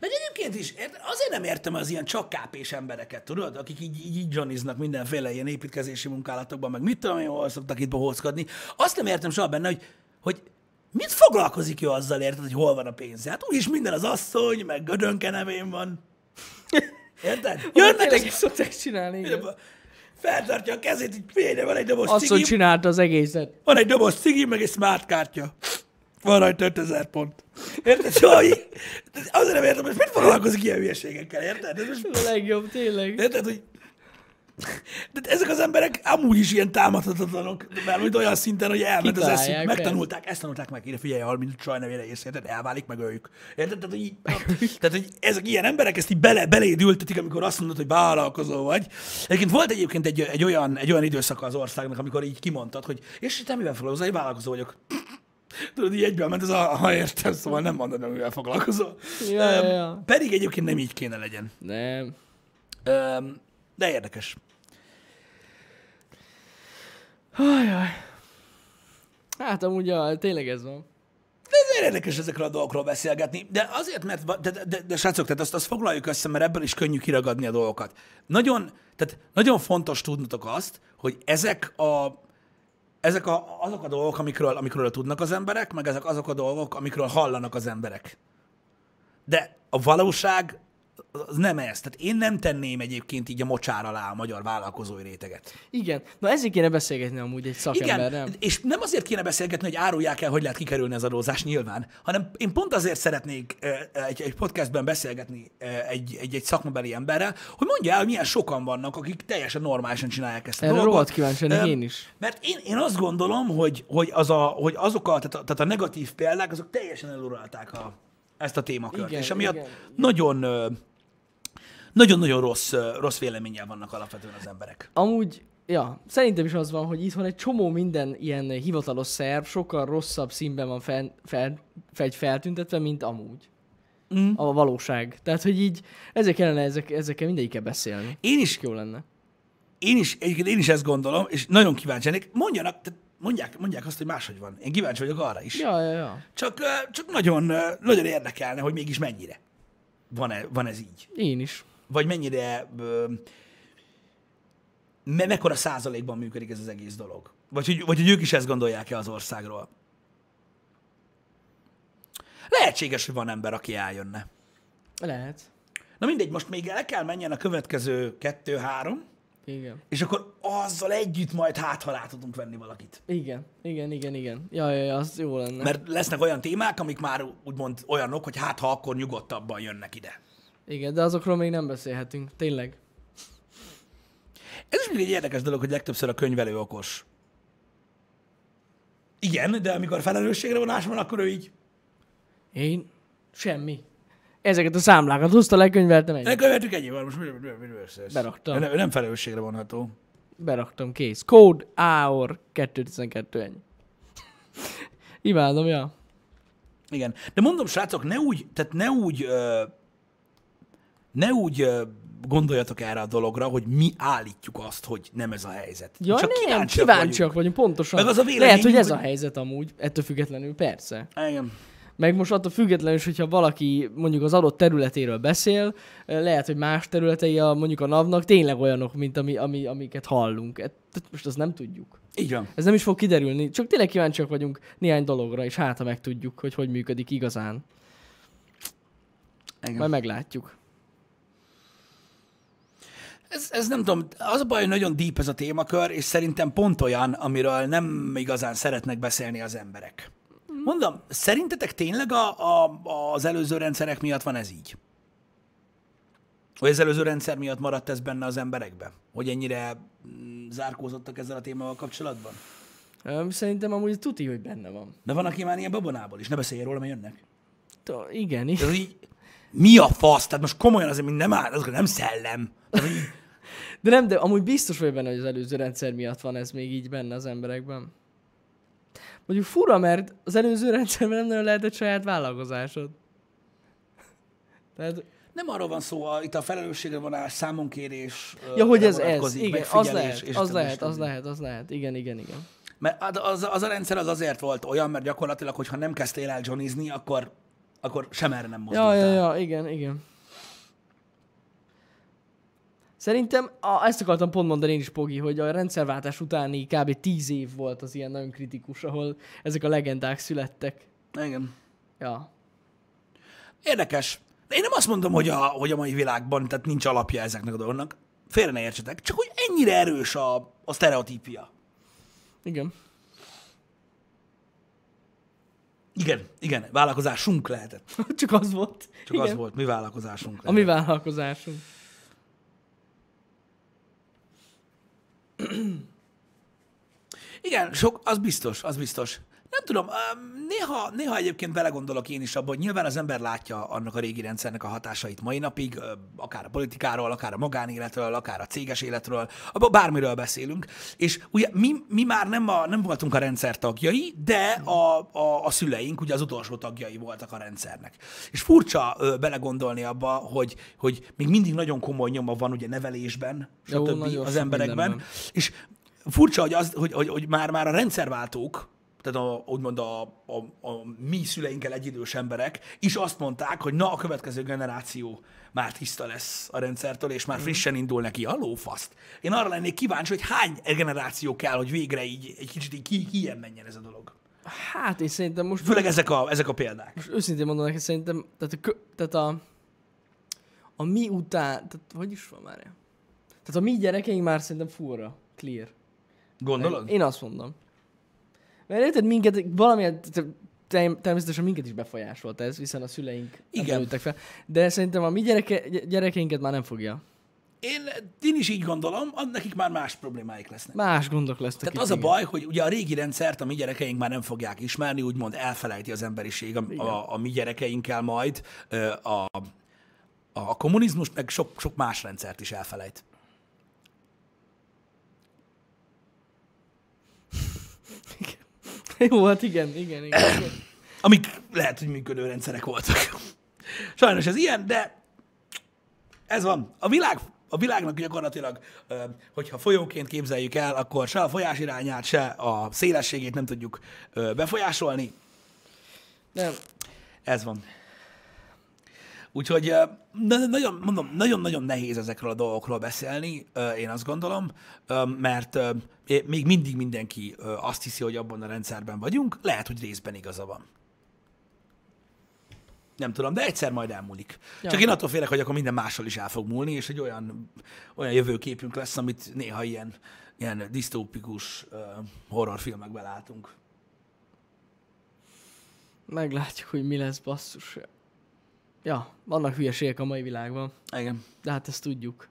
[SPEAKER 2] Meg egyébként is, ért- azért nem értem az ilyen csak kápés embereket, tudod? Akik így, így, így johniznak mindenféle ilyen építkezési munkálatokban, meg mit tudom én, hol szoktak itt bohóckodni. Azt nem értem soha benne, hogy, hogy mit foglalkozik ő azzal, érted, hogy hol van a pénze? Hát úgyis minden az asszony, meg gödönke nevén [laughs] van. Érted? Jönnek
[SPEAKER 1] Tényleg
[SPEAKER 2] az
[SPEAKER 1] ezt szokták csinálni, igen.
[SPEAKER 2] feltartja a kezét, így például van egy doboz
[SPEAKER 1] Azt, hogy
[SPEAKER 2] cigi,
[SPEAKER 1] csinálta az egészet.
[SPEAKER 2] van egy doboz cigi, meg egy smart kártya. Van rajta 5000 pont. Érted? Szóval így- azért nem értem, hogy mit foglalkozik ilyen hülyeségekkel, érted? Ez most,
[SPEAKER 1] Ez a legjobb, tényleg.
[SPEAKER 2] érted, hogy de ezek az emberek amúgy is ilyen támadhatatlanok, mert hogy olyan szinten, hogy elment az
[SPEAKER 1] Kitalálják,
[SPEAKER 2] eszük,
[SPEAKER 1] persze.
[SPEAKER 2] megtanulták, ezt tanulták meg, ide figyelj, ha mint csaj nevére ész, érted, elválik, megöljük. Érted? Tehát, hogy, így, tehát, hogy ezek ilyen emberek ezt így bele, beléd ültetik, amikor azt mondod, hogy vállalkozó vagy. Egyébként volt egyébként egy, egy, olyan, egy olyan időszaka az országnak, amikor így kimondtad, hogy és te mivel foglalkozol, én vállalkozó vagyok. Tudod, így egyben ment ez a, ha értem, szóval nem mondod, hogy mivel foglalkozol.
[SPEAKER 1] Ja, ja,
[SPEAKER 2] Öm,
[SPEAKER 1] ja.
[SPEAKER 2] Pedig egyébként nem így kéne legyen.
[SPEAKER 1] Nem.
[SPEAKER 2] Öm, De érdekes.
[SPEAKER 1] Ajaj. Hát amúgy ja, tényleg ez van.
[SPEAKER 2] Ezért érdekes ezekről a dolgokról beszélgetni, de azért, mert, va- de, de, de, de srácok, tehát azt, azt foglaljuk össze, mert ebből is könnyű kiragadni a dolgokat. Nagyon, tehát nagyon fontos tudnotok azt, hogy ezek a, ezek a, azok a dolgok, amikről, amikről tudnak az emberek, meg ezek azok a dolgok, amikről hallanak az emberek. De a valóság az nem ez. Tehát én nem tenném egyébként így a mocsár alá a magyar vállalkozói réteget.
[SPEAKER 1] Igen. Na ezért kéne beszélgetni amúgy egy szakemberrel.
[SPEAKER 2] Igen, és nem azért kéne beszélgetni, hogy árulják el, hogy lehet kikerülni az adózás nyilván, hanem én pont azért szeretnék ö, egy, egy podcastben beszélgetni ö, egy, egy, egy szakmabeli emberrel, hogy mondja el, hogy milyen sokan vannak, akik teljesen normálisan csinálják ezt a
[SPEAKER 1] Erre
[SPEAKER 2] dolgot.
[SPEAKER 1] rohadt kíváncsi lennék
[SPEAKER 2] Ö,
[SPEAKER 1] én is.
[SPEAKER 2] Mert én, én azt gondolom, hogy, hogy, az a, hogy azok a, tehát a, tehát a negatív példák, azok teljesen eluralták a, ezt a témakört,
[SPEAKER 1] Igen,
[SPEAKER 2] és emiatt
[SPEAKER 1] igen.
[SPEAKER 2] nagyon... ö, nagyon-nagyon rossz, ö, rossz véleménnyel vannak alapvetően az emberek.
[SPEAKER 1] Amúgy, ja, szerintem is az van, hogy itthon egy csomó minden ilyen hivatalos szerv sokkal rosszabb színben van fel, fel, fel, feltüntetve, mint amúgy.
[SPEAKER 2] Mm.
[SPEAKER 1] A valóság. Tehát, hogy így ezek kellene ezek, ezekkel mindegyikkel beszélni.
[SPEAKER 2] Én is
[SPEAKER 1] Jó lenne.
[SPEAKER 2] Én is, egyébként én is ezt gondolom, és nagyon kíváncsi lennék. Mondjanak, tehát mondják, mondják azt, hogy máshogy van. Én kíváncsi vagyok arra is.
[SPEAKER 1] Ja, ja, ja.
[SPEAKER 2] Csak, ö, csak nagyon, ö, nagyon érdekelne, hogy mégis mennyire van, -e, van ez így.
[SPEAKER 1] Én is.
[SPEAKER 2] Vagy mennyire, ö, me, mekkora százalékban működik ez az egész dolog. Vagy hogy, vagy hogy ők is ezt gondolják-e az országról. Lehetséges, hogy van ember, aki eljönne.
[SPEAKER 1] Lehet.
[SPEAKER 2] Na mindegy, most még el kell menjen a következő kettő-három,
[SPEAKER 1] Igen.
[SPEAKER 2] és akkor azzal együtt majd hát, ha rá tudunk venni valakit.
[SPEAKER 1] Igen, igen, igen, igen. Ja, ja, ja, az jó lenne.
[SPEAKER 2] Mert lesznek olyan témák, amik már úgymond olyanok, hogy hát ha akkor nyugodtabban jönnek ide.
[SPEAKER 1] Igen, de azokról még nem beszélhetünk. Tényleg.
[SPEAKER 2] Ez is még egy érdekes dolog, hogy legtöbbször a könyvelő okos. Igen, de amikor felelősségre vonás van, akkor ő így.
[SPEAKER 1] Én? Semmi. Ezeket a számlákat hozta, lekönyveltem
[SPEAKER 2] Ne
[SPEAKER 1] egy.
[SPEAKER 2] követjük ennyi van, most mi- mi- mi- mi- mi- össze-
[SPEAKER 1] Beraktam.
[SPEAKER 2] Ő Nem, ő nem felelősségre vonható.
[SPEAKER 1] Beraktam, kész. Code AOR 212, ennyi. Imádom, ja.
[SPEAKER 2] Igen. De mondom, srácok, ne úgy, tehát ne úgy, ö, ne úgy ö, gondoljatok erre a dologra, hogy mi állítjuk azt, hogy nem ez a helyzet.
[SPEAKER 1] Ja,
[SPEAKER 2] Csak
[SPEAKER 1] nem,
[SPEAKER 2] kíváncsiak
[SPEAKER 1] kíváncsiak,
[SPEAKER 2] vagyunk.
[SPEAKER 1] vagyunk. pontosan.
[SPEAKER 2] Meg az a
[SPEAKER 1] Lehet, hogy
[SPEAKER 2] véleményünk,
[SPEAKER 1] ez a
[SPEAKER 2] hogy-
[SPEAKER 1] helyzet amúgy, ettől függetlenül, persze.
[SPEAKER 2] Igen.
[SPEAKER 1] Meg most attól függetlenül is, hogyha valaki mondjuk az adott területéről beszél, eh, lehet, hogy más területei a, mondjuk a NAV-nak tényleg olyanok, mint ami, ami, amiket hallunk. E- Tehát most azt nem tudjuk.
[SPEAKER 2] Így van.
[SPEAKER 1] Ez nem is fog kiderülni, csak tényleg kíváncsiak vagyunk néhány dologra, és hát, ha megtudjuk, hogy hogy működik igazán.
[SPEAKER 2] Igen.
[SPEAKER 1] Majd meglátjuk.
[SPEAKER 2] Ez, ez nem tudom, az a baj, hogy nagyon deep ez a témakör, és szerintem pont olyan, amiről nem igazán szeretnek beszélni az emberek. Mondom, szerintetek tényleg a, a, az előző rendszerek miatt van ez így? Vagy az előző rendszer miatt maradt ez benne az emberekbe? Hogy ennyire mm, zárkózottak ezzel a témával kapcsolatban?
[SPEAKER 1] Öm, Szerintem amúgy tuti, hogy benne van.
[SPEAKER 2] De van, aki már ilyen babonából is, ne beszélj róla, mert jönnek.
[SPEAKER 1] T- igen, i-
[SPEAKER 2] Ez így, mi a fasz? Tehát most komolyan azért, mint nem áll, azok nem szellem. Tehát, hogy
[SPEAKER 1] de nem, de amúgy biztos vagy benne, hogy az előző rendszer miatt van ez még így benne az emberekben. Mondjuk fura, mert az előző rendszerben nem nagyon lehetett saját vállalkozásod. Tehát
[SPEAKER 2] Nem arról van szó, a, itt a felelősségre vonás, számonkérés.
[SPEAKER 1] Ja,
[SPEAKER 2] ö,
[SPEAKER 1] hogy
[SPEAKER 2] erre
[SPEAKER 1] ez ez.
[SPEAKER 2] vonatkozik,
[SPEAKER 1] Igen, az
[SPEAKER 2] megfigyelés,
[SPEAKER 1] lehet,
[SPEAKER 2] és
[SPEAKER 1] az
[SPEAKER 2] többi,
[SPEAKER 1] lehet, az
[SPEAKER 2] stb.
[SPEAKER 1] lehet, az lehet. Igen, igen, igen.
[SPEAKER 2] Mert az- az, az, a rendszer az azért volt olyan, mert gyakorlatilag, hogyha nem kezdtél el johnizni, akkor, akkor sem erre nem
[SPEAKER 1] Ja,
[SPEAKER 2] mozdultál.
[SPEAKER 1] ja, ja, igen, igen. Szerintem, a, ezt akartam pont mondani én is, Pogi, hogy a rendszerváltás utáni kb. 10 év volt az ilyen nagyon kritikus, ahol ezek a legendák születtek.
[SPEAKER 2] Igen.
[SPEAKER 1] Ja.
[SPEAKER 2] Érdekes. De én nem azt mondom, hogy a, hogy a mai világban tehát nincs alapja ezeknek a dolgoknak. Félre ne értsetek. Csak hogy ennyire erős a, a sztereotípia.
[SPEAKER 1] Igen. [laughs]
[SPEAKER 2] Igen, igen, vállalkozásunk lehetett.
[SPEAKER 1] Csak az volt.
[SPEAKER 2] Csak igen. az volt, mi vállalkozásunk
[SPEAKER 1] A mi vállalkozásunk.
[SPEAKER 2] Igen, sok, az biztos, az biztos. Nem tudom, öm, néha, néha egyébként belegondolok én is abban, hogy nyilván az ember látja annak a régi rendszernek a hatásait mai napig, ö, akár a politikáról, akár a magánéletről, akár a céges életről, abban bármiről beszélünk. És ugye mi, mi már nem, a, nem voltunk a rendszer tagjai, de a, a, a szüleink ugye az utolsó tagjai voltak a rendszernek. És furcsa ö, belegondolni abba, hogy, hogy még mindig nagyon komoly nyoma van ugye nevelésben,
[SPEAKER 1] Jó,
[SPEAKER 2] stb.
[SPEAKER 1] nagyon
[SPEAKER 2] az
[SPEAKER 1] sok
[SPEAKER 2] emberekben.
[SPEAKER 1] mindenben.
[SPEAKER 2] És furcsa, hogy, az, hogy, hogy, hogy már, már a rendszerváltók, tehát a, úgymond a, a, a mi szüleinkkel egyidős emberek is azt mondták, hogy na, a következő generáció már tiszta lesz a rendszertől, és már frissen indul neki a lófaszt. Én arra lennék kíváncsi, hogy hány generáció kell, hogy végre így egy kicsit így ki, ki ilyen menjen ez a dolog.
[SPEAKER 1] Hát, és szerintem most
[SPEAKER 2] Főleg ezek a, ezek a példák.
[SPEAKER 1] most őszintén mondom neked, szerintem, tehát a, kö, tehát a, a mi után, tehát hogy is van már? Tehát a mi gyerekeink már szerintem furra, clear.
[SPEAKER 2] Gondolod?
[SPEAKER 1] Én azt mondom. Mert érted, minket valamilyen, te- te- természetesen minket is befolyásolt ez, hiszen a szüleink
[SPEAKER 2] Igen.
[SPEAKER 1] Igen. fel. De szerintem a mi gyereke, gy- gyerekeinket már nem fogja.
[SPEAKER 2] Én, én is így gondolom, ad- nekik már más problémáik lesznek.
[SPEAKER 1] Más gondok lesznek.
[SPEAKER 2] Tehát
[SPEAKER 1] itt,
[SPEAKER 2] az a
[SPEAKER 1] igen.
[SPEAKER 2] baj, hogy ugye a régi rendszert a mi gyerekeink már nem fogják ismerni, úgymond elfelejti az emberiség a, a, a mi gyerekeinkkel majd, ö, a, a, a kommunizmus meg sok, sok más rendszert is elfelejt.
[SPEAKER 1] [laughs] Jó, hát igen, igen, igen. igen.
[SPEAKER 2] Amik lehet, hogy működő rendszerek voltak. [laughs] Sajnos ez ilyen, de ez van. A világ a világnak gyakorlatilag, ö, hogyha folyóként képzeljük el, akkor se a folyás irányát, se a szélességét nem tudjuk ö, befolyásolni.
[SPEAKER 1] Nem,
[SPEAKER 2] Ez van. Úgyhogy ö, na- na- nagyon, mondom, nagyon-nagyon nehéz ezekről a dolgokról beszélni, ö, én azt gondolom, ö, mert ö, é- még mindig mindenki ö, azt hiszi, hogy abban a rendszerben vagyunk, lehet, hogy részben igaza van. Nem tudom, de egyszer majd elmúlik.
[SPEAKER 1] Ja.
[SPEAKER 2] Csak én attól félek, hogy akkor minden mással is el fog múlni, és egy olyan, olyan jövőképünk lesz, amit néha ilyen, ilyen disztópikus ö, horrorfilmekben látunk.
[SPEAKER 1] meglátjuk, hogy mi lesz basszus. Ja, vannak hülyeségek a mai világban.
[SPEAKER 2] Igen.
[SPEAKER 1] De hát ezt tudjuk.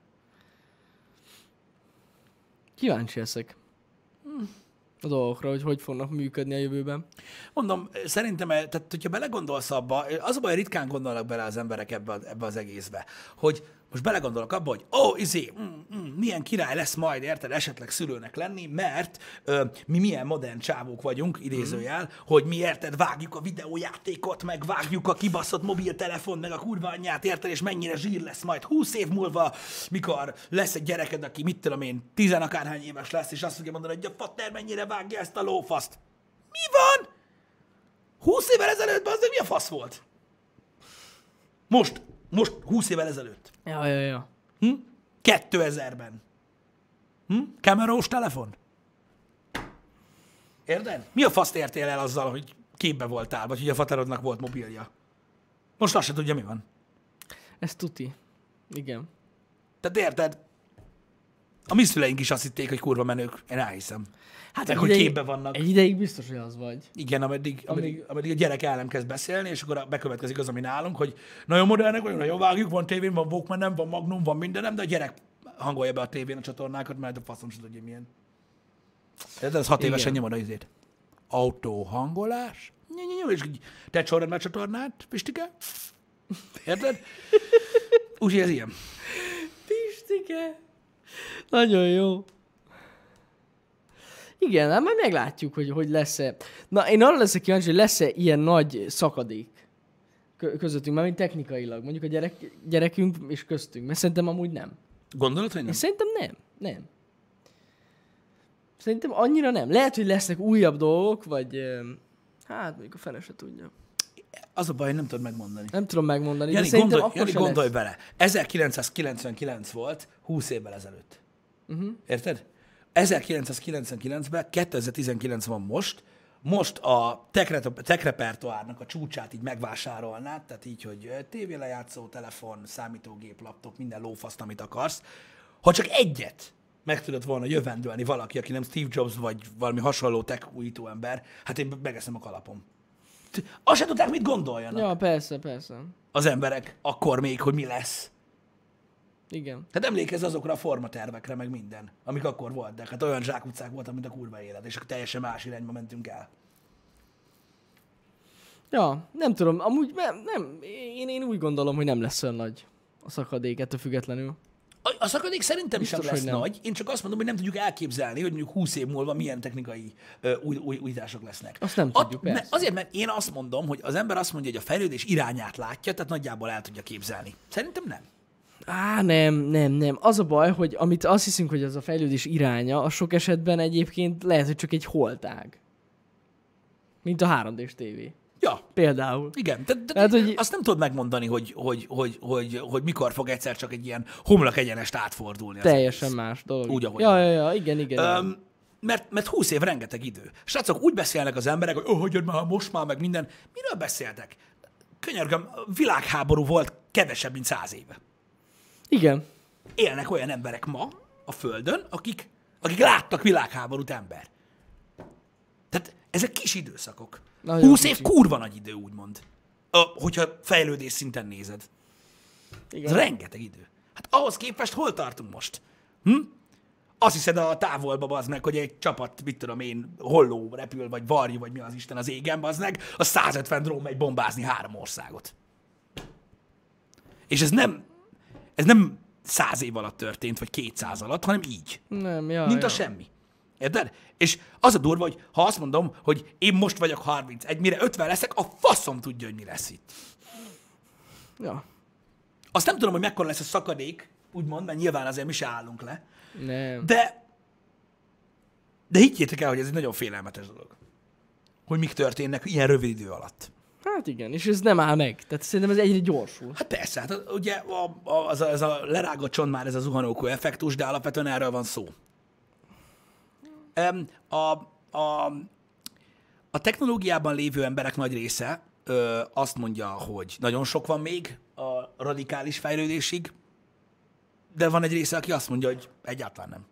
[SPEAKER 1] Kíváncsi leszek. a dolgokra, hogy hogy fognak működni a jövőben.
[SPEAKER 2] Mondom, szerintem, eh, tehát hogyha belegondolsz abba, eh, az a baj, ritkán gondolnak bele az emberek ebbe, a- ebbe az egészbe, hogy most belegondolok abba, hogy ó, oh, izé, mm, mm, milyen király lesz majd, érted, esetleg szülőnek lenni, mert ö, mi milyen modern csávók vagyunk, idézőjel, mm. hogy mi, érted, vágjuk a videójátékot, meg vágjuk a kibaszott mobiltelefon, meg a kurva anyját, érted, és mennyire zsír lesz majd 20 év múlva, mikor lesz egy gyereked, aki mit tudom én, tizen akárhány éves lesz, és azt fogja mondani, hogy a fatter mennyire vágja ezt a lófaszt. Mi van? 20 évvel ezelőtt, az mi a fasz volt? Most, most 20 évvel ezelőtt.
[SPEAKER 1] Ja, ja, ja.
[SPEAKER 2] 2000-ben. Hm? Kamerós telefon? Érted? Mi a faszt értél el azzal, hogy képbe voltál, vagy hogy a faterodnak volt mobilja? Most azt se tudja, mi van.
[SPEAKER 1] Ez tuti. Igen.
[SPEAKER 2] Tehát érted? A mi szüleink is azt hitték, hogy kurva menők. Én elhiszem. Hát, meg, hogy
[SPEAKER 1] ideig-
[SPEAKER 2] képbe vannak.
[SPEAKER 1] Egy ideig biztos, hogy az vagy.
[SPEAKER 2] Igen, ameddig, ameddig, ameddig a gyerek el nem kezd beszélni, és akkor a- bekövetkezik az, ami nálunk, hogy nagyon modernek vagyunk, nagyon vágjuk, van tévén, van Walkmanem, van Magnum, van mindenem, de a gyerek hangolja be a tévén a csatornákat, mert a faszom sem tudja milyen. Tehát ez hat évesen nyomod a izét. Autóhangolás? Nyom, nyom, és így te csorod meg a csatornát, Pistike? [laughs] Érted? Úgyhogy ez ilyen.
[SPEAKER 1] Pistike! Nagyon jó. Igen, hát majd meglátjuk, hogy, hogy lesz-e. Na, én arra leszek kíváncsi, hogy lesz-e ilyen nagy szakadék kö- közöttünk, mármint technikailag, mondjuk a gyerek, gyerekünk és köztünk, mert szerintem amúgy nem.
[SPEAKER 2] Gondolod, hogy
[SPEAKER 1] Én
[SPEAKER 2] nem?
[SPEAKER 1] szerintem nem. Nem. Szerintem annyira nem. Lehet, hogy lesznek újabb dolgok, vagy öm, hát mondjuk a fene se tudja.
[SPEAKER 2] Az a baj, nem tudod megmondani.
[SPEAKER 1] Nem tudom megmondani, de
[SPEAKER 2] Jani,
[SPEAKER 1] szerintem
[SPEAKER 2] gondolj,
[SPEAKER 1] akkor
[SPEAKER 2] Jani,
[SPEAKER 1] se
[SPEAKER 2] gondolj
[SPEAKER 1] lesz.
[SPEAKER 2] bele. 1999 volt, 20 évvel ezelőtt.
[SPEAKER 1] Mhm.
[SPEAKER 2] Uh-huh. Érted? 1999-ben, 2019 van most, most a tekre- tekrepertoárnak a csúcsát így megvásárolnád, tehát így, hogy ö, tévélejátszó, telefon, számítógép, laptop, minden lófaszt, amit akarsz. Ha csak egyet meg tudott volna jövendőlni valaki, aki nem Steve Jobs vagy valami hasonló tech újító ember, hát én megeszem a kalapom. T- Azt se tudták, mit gondoljanak
[SPEAKER 1] Ja, persze, persze.
[SPEAKER 2] az emberek akkor még, hogy mi lesz.
[SPEAKER 1] Igen.
[SPEAKER 2] Tehát emlékezz azokra a formatervekre, meg minden, amik akkor voltak. Hát olyan zsákutcák voltak, mint a kurva élet, és akkor teljesen más irányba mentünk el.
[SPEAKER 1] Ja, nem tudom, amúgy nem, nem én, én úgy gondolom, hogy nem lesz olyan nagy a szakadék ettől függetlenül.
[SPEAKER 2] A, a szakadék szerintem Biztos,
[SPEAKER 1] Biztos,
[SPEAKER 2] sem lesz
[SPEAKER 1] hogy nem.
[SPEAKER 2] nagy. Én csak azt mondom, hogy nem tudjuk elképzelni, hogy mondjuk 20 év múlva milyen technikai ö, új, új, újítások lesznek.
[SPEAKER 1] Azt nem tudjuk,
[SPEAKER 2] me-
[SPEAKER 1] persze.
[SPEAKER 2] Azért, mert én azt mondom, hogy az ember azt mondja, hogy a fejlődés irányát látja, tehát nagyjából el tudja képzelni. Szerintem nem.
[SPEAKER 1] Á, nem, nem, nem. Az a baj, hogy amit azt hiszünk, hogy az a fejlődés iránya, a sok esetben egyébként lehet, hogy csak egy holtág. Mint a 3D-s TV.
[SPEAKER 2] Ja,
[SPEAKER 1] Például.
[SPEAKER 2] Igen, tehát, tehát
[SPEAKER 1] Tehát,
[SPEAKER 2] hogy...
[SPEAKER 1] Hát, hogy-
[SPEAKER 2] azt nem tudod megmondani, hogy, hogy, hogy, hogy, hogy mikor fog egyszer csak egy ilyen homlok egyenest átfordulni. az
[SPEAKER 1] Teljesen más dolog.
[SPEAKER 2] Úgy, ahogy
[SPEAKER 1] Ja,
[SPEAKER 2] van.
[SPEAKER 1] ja, ja, igen, igen.
[SPEAKER 2] Öm, mert, mert 20 év rengeteg idő. Srácok, úgy beszélnek az emberek, hogy oh, hogy már most már, meg minden. Miről beszéltek? Könyörgöm, a világháború volt kevesebb, mint 100 éve.
[SPEAKER 1] igen.
[SPEAKER 2] Élnek olyan emberek ma a Földön, akik, akik láttak világháborút ember. Tehát ezek kis időszakok.
[SPEAKER 1] Nagyon
[SPEAKER 2] 20 év
[SPEAKER 1] kicsi.
[SPEAKER 2] kurva nagy idő, úgymond. Ö, hogyha fejlődés szinten nézed. Ez
[SPEAKER 1] igen.
[SPEAKER 2] rengeteg idő. Hát ahhoz képest hol tartunk most? Hm? Azt hiszed a távolba az meg, hogy egy csapat, mit tudom én, holló repül, vagy varjú, vagy mi az Isten az égen, az meg, a 150 drón megy bombázni három országot. És ez nem, ez nem száz év alatt történt, vagy 200 alatt, hanem így.
[SPEAKER 1] Nem, ja,
[SPEAKER 2] Mint
[SPEAKER 1] ja.
[SPEAKER 2] a semmi. Érted? És az a durva, hogy ha azt mondom, hogy én most vagyok 31, mire 50 leszek, a faszom tudja, hogy mi lesz itt.
[SPEAKER 1] Ja.
[SPEAKER 2] Azt nem tudom, hogy mekkora lesz a szakadék, úgymond, mert nyilván azért mi se állunk le.
[SPEAKER 1] Nem.
[SPEAKER 2] De, de higgyétek el, hogy ez egy nagyon félelmetes dolog. Hogy mik történnek ilyen rövid idő alatt.
[SPEAKER 1] Hát igen, és ez nem áll meg. Tehát szerintem ez egyre gyorsul.
[SPEAKER 2] Hát persze, hát a- ugye a, a, az a, ez a lerágott csont már ez a zuhanókó effektus, de alapvetően erről van szó. Em, A, a, a technológiában lévő emberek nagy része ö, azt mondja, hogy nagyon sok van még a radikális fejlődésig, de van egy része, aki azt mondja, hogy egyáltalán nem.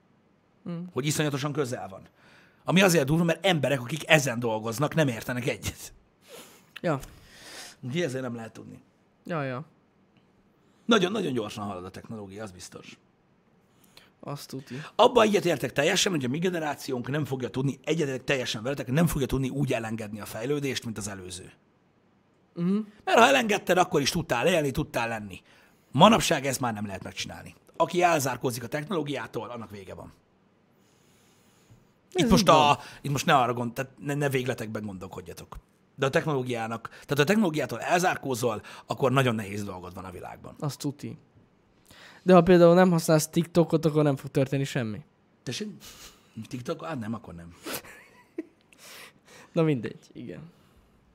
[SPEAKER 2] Hmm. Hogy iszonyatosan közel van. Ami azért durva, mert emberek, akik ezen dolgoznak, nem értenek egyet.
[SPEAKER 1] Ja.
[SPEAKER 2] Úgyhogy ezért nem lehet tudni.
[SPEAKER 1] Ja, ja.
[SPEAKER 2] Nagyon-nagyon gyorsan halad a technológia, az biztos.
[SPEAKER 1] Azt tudja.
[SPEAKER 2] Abban egyetértek teljesen, hogy a mi generációnk nem fogja tudni, egyetértek teljesen veletek, nem fogja tudni úgy elengedni a fejlődést, mint az előző. Uh-huh.
[SPEAKER 1] Mhm.
[SPEAKER 2] Mert ha elengedted, akkor is tudtál élni, tudtál lenni. Manapság ezt már nem lehet megcsinálni. Aki elzárkózik a technológiától, annak vége van. Itt
[SPEAKER 1] Ez
[SPEAKER 2] most,
[SPEAKER 1] így van.
[SPEAKER 2] a, itt most ne arra gond, tehát ne, ne végletekben gondolkodjatok. De a technológiának, tehát a technológiától elzárkózol, akkor nagyon nehéz dolgod van a világban.
[SPEAKER 1] Azt tuti. De ha például nem használsz TikTokot, akkor nem fog történni semmi.
[SPEAKER 2] Tessék? TikTok? Hát nem, akkor nem.
[SPEAKER 1] Na mindegy, igen.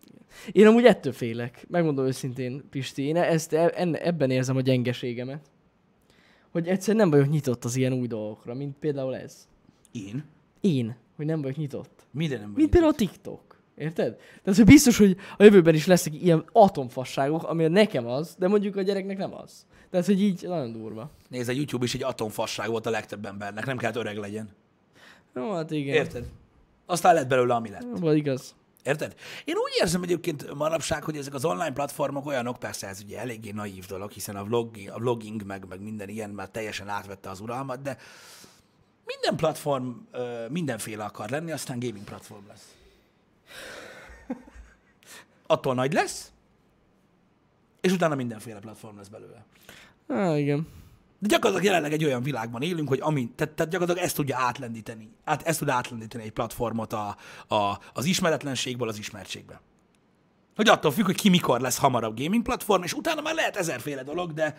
[SPEAKER 1] Igen. Én amúgy ettől félek, megmondom őszintén, Pisti, én ezt, e- enne- ebben érzem a gyengeségemet. Hogy egyszerűen nem vagyok nyitott az ilyen új dolgokra, mint például ez.
[SPEAKER 2] Én?
[SPEAKER 1] Én, hogy nem vagyok nyitott.
[SPEAKER 2] Minden nem
[SPEAKER 1] Mint például a TikTok. Érted? Tehát, hogy biztos, hogy a jövőben is lesznek ilyen atomfasságok, ami nekem az, de mondjuk a gyereknek nem az. Tehát, hogy így nagyon durva.
[SPEAKER 2] Nézd, a YouTube is egy atomfasság volt a legtöbb embernek, nem kellett öreg legyen.
[SPEAKER 1] Jó, hát igen.
[SPEAKER 2] Érted? Aztán lett belőle, ami lett.
[SPEAKER 1] Vagy igaz.
[SPEAKER 2] Érted? Én úgy érzem egyébként manapság, hogy ezek az online platformok olyanok, persze ez ugye eléggé naív dolog, hiszen a, vlog, a vlogging meg, meg minden ilyen már teljesen átvette az uralmat, de minden platform ö, mindenféle akar lenni, aztán gaming platform lesz. Attól nagy lesz, és utána mindenféle platform lesz belőle.
[SPEAKER 1] Á, igen.
[SPEAKER 2] De gyakorlatilag jelenleg egy olyan világban élünk, hogy ami, tehát, tehát gyakorlatilag ezt tudja átlendíteni. Hát ezt tud átlendíteni egy platformot a, a, az ismeretlenségből az ismertségbe. Hogy attól függ, hogy ki mikor lesz hamarabb gaming platform, és utána már lehet ezerféle dolog, de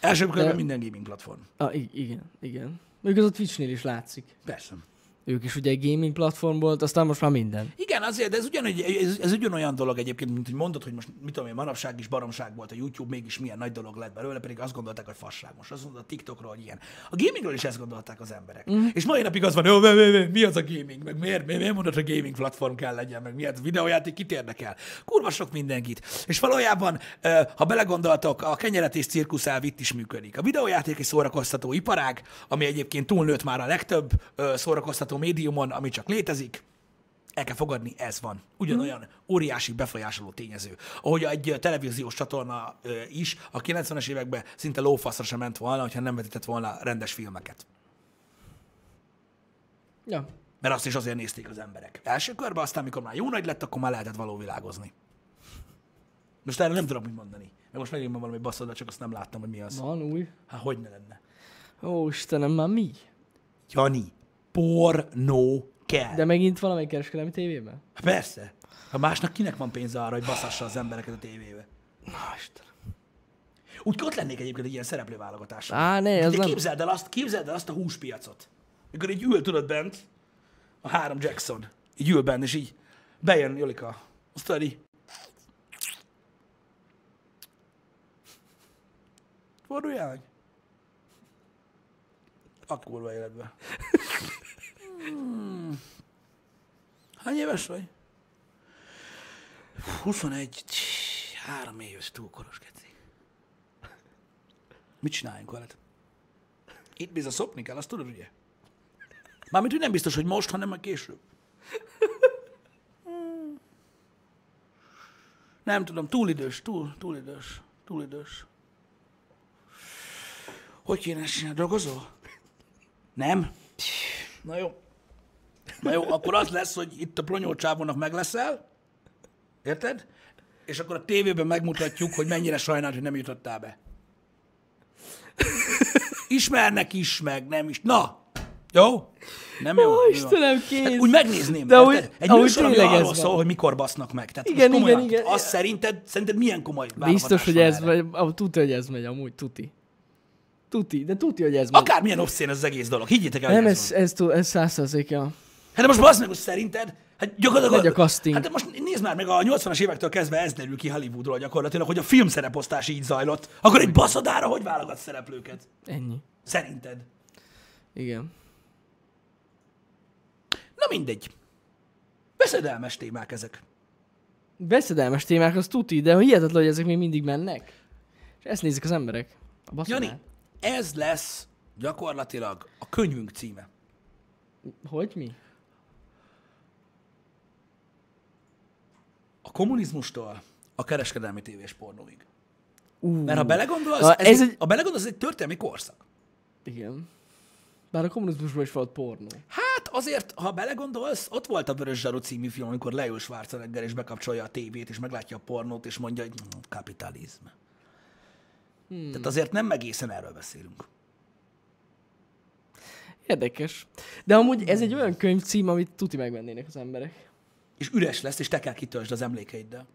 [SPEAKER 2] első körben
[SPEAKER 1] De-
[SPEAKER 2] minden gaming platform.
[SPEAKER 1] Á, i- Ah, igen, igen. Még az a Twitchnél is látszik.
[SPEAKER 2] Persze.
[SPEAKER 1] Ők is ugye egy gaming platform volt, aztán most már minden.
[SPEAKER 2] Igen, azért, de ez, ugyan, ez, ez ugyanolyan dolog egyébként, mint hogy mondod, hogy most mit tudom én, manapság is baromság volt a YouTube, mégis milyen nagy dolog lett belőle, pedig azt gondolták, hogy fasság. Most azt mondod a TikTokról, hogy ilyen. A gamingről is ezt gondolták az emberek. Mm. És mai napig az van, hogy mi, mi, mi, mi az a gaming, meg miért, miért, miért mondod, hogy gaming platform kell legyen, meg miért videójáték, kit érdekel. Kurva sok mindenkit. És valójában, ö, ha belegondoltok, a kenyeret és cirkusz elv itt is működik. A videójáték és szórakoztató iparág, ami egyébként túlnőtt már a legtöbb ö, szórakoztató médiumon, ami csak létezik, el kell fogadni, ez van. Ugyanolyan óriási befolyásoló tényező. Ahogy egy ö, televíziós csatorna ö, is a 90-es években szinte lófaszra sem ment volna, hogyha nem vetített volna rendes filmeket.
[SPEAKER 1] Ja.
[SPEAKER 2] Mert azt is azért nézték az emberek. Első körben, aztán amikor már jó nagy lett, akkor már lehetett való világozni. Most erre nem tudom mit mondani. Mert most megint van valami baszod, csak azt nem láttam, hogy mi az.
[SPEAKER 1] Van új.
[SPEAKER 2] Hát hogy ne lenne?
[SPEAKER 1] Ó, Istenem, már mi?
[SPEAKER 2] Jani, pornó kell.
[SPEAKER 1] De megint valamelyik kereskedelmi tévében?
[SPEAKER 2] Hát Persze. Ha másnak kinek van pénze arra, hogy baszassa az embereket a tévébe?
[SPEAKER 1] Na, Istenem.
[SPEAKER 2] Úgy ott lennék egyébként egy ilyen szereplőválogatás.
[SPEAKER 1] Á, ne, ez
[SPEAKER 2] De
[SPEAKER 1] nem-
[SPEAKER 2] képzeld el, azt, képzeld el azt a húspiacot. Mikor így ül, tudod, bent, a három Jackson, így ül bent, és így bejön Jolika, azt tudod, így... Forduljál meg! A kurva életbe. Hmm. Hány éves vagy? 21, Csí, három éves, túl koros keci. Mit csináljunk veled? Itt bizony szopni kell, azt tudod, ugye? Mármint, hogy nem biztos, hogy most, hanem a később. Nem tudom, túl idős, túl, túl idős, túl idős. Hogy kéne ezt csinálni? Dolgozol? Nem? Na jó. Na jó, akkor az lesz, hogy itt a plonyócsávónak meg leszel, érted? És akkor a tévében megmutatjuk, hogy mennyire sajnált, hogy nem jutottál be. Ismernek is, meg nem is. Na! Jó? Nem jó?
[SPEAKER 1] Ó,
[SPEAKER 2] Mi van?
[SPEAKER 1] Istenem, kész.
[SPEAKER 2] Tehát Hát úgy megnézném.
[SPEAKER 1] De
[SPEAKER 2] De
[SPEAKER 1] ahogy-
[SPEAKER 2] úgy, egy
[SPEAKER 1] ahogy
[SPEAKER 2] műsor, ami
[SPEAKER 1] tényleg ez
[SPEAKER 2] arról
[SPEAKER 1] van.
[SPEAKER 2] szól, hogy mikor basznak meg. Tehát
[SPEAKER 1] Igen,
[SPEAKER 2] most komolyan,
[SPEAKER 1] igen, igen.
[SPEAKER 2] Azt szerinted, szerinted milyen komoly
[SPEAKER 1] Biztos,
[SPEAKER 2] válogatás
[SPEAKER 1] hogy
[SPEAKER 2] van
[SPEAKER 1] ez
[SPEAKER 2] erre?
[SPEAKER 1] megy, ah, tuti, hogy ez megy amúgy, tuti. Tuti, de tuti, hogy ez megy.
[SPEAKER 2] Akármilyen obszén ez az egész dolog. Higgyétek el,
[SPEAKER 1] Nem,
[SPEAKER 2] hogy
[SPEAKER 1] ez,
[SPEAKER 2] van.
[SPEAKER 1] ez, tu- ez százszerzéke.
[SPEAKER 2] Hát de most bazd meg, hogy szerinted, hát gyakorlatilag...
[SPEAKER 1] Megy a casting.
[SPEAKER 2] Hát de most nézd már meg, a 80-as évektől kezdve ez derül ki Hollywoodról gyakorlatilag, hogy a filmszereposztás így zajlott. Akkor egy baszadára hogy válogat szereplőket?
[SPEAKER 1] Ennyi.
[SPEAKER 2] Szerinted?
[SPEAKER 1] Igen.
[SPEAKER 2] Na mindegy. Veszedelmes témák ezek.
[SPEAKER 1] Veszedelmes témák, az tuti, de hihetetlen, hogy ezek még mindig mennek. És ezt nézik az emberek. A baszonát.
[SPEAKER 2] Jani, ez lesz gyakorlatilag a könyvünk címe.
[SPEAKER 1] Hogy mi?
[SPEAKER 2] A kommunizmustól a kereskedelmi tévés pornóig.
[SPEAKER 1] Ú,
[SPEAKER 2] Mert ha belegondolsz,
[SPEAKER 1] Na,
[SPEAKER 2] ez, ez
[SPEAKER 1] ez
[SPEAKER 2] egy,
[SPEAKER 1] egy-
[SPEAKER 2] ha belegondolsz, ez egy történelmi korszak.
[SPEAKER 1] igen. Bár a kommunizmusban is volt pornó.
[SPEAKER 2] Hát azért, ha belegondolsz, ott volt a Vörös Zsaru című film, amikor leül Schwarzenegger és bekapcsolja a tévét, és meglátja a pornót, és mondja, hogy "Mm, kapitalizm. Hmm. Tehát azért nem egészen erről beszélünk.
[SPEAKER 1] Érdekes. De amúgy ez egy olyan könyvcím, amit tuti megvennének az emberek.
[SPEAKER 2] És üres lesz, és te kell kitöltsd az emlékeiddel.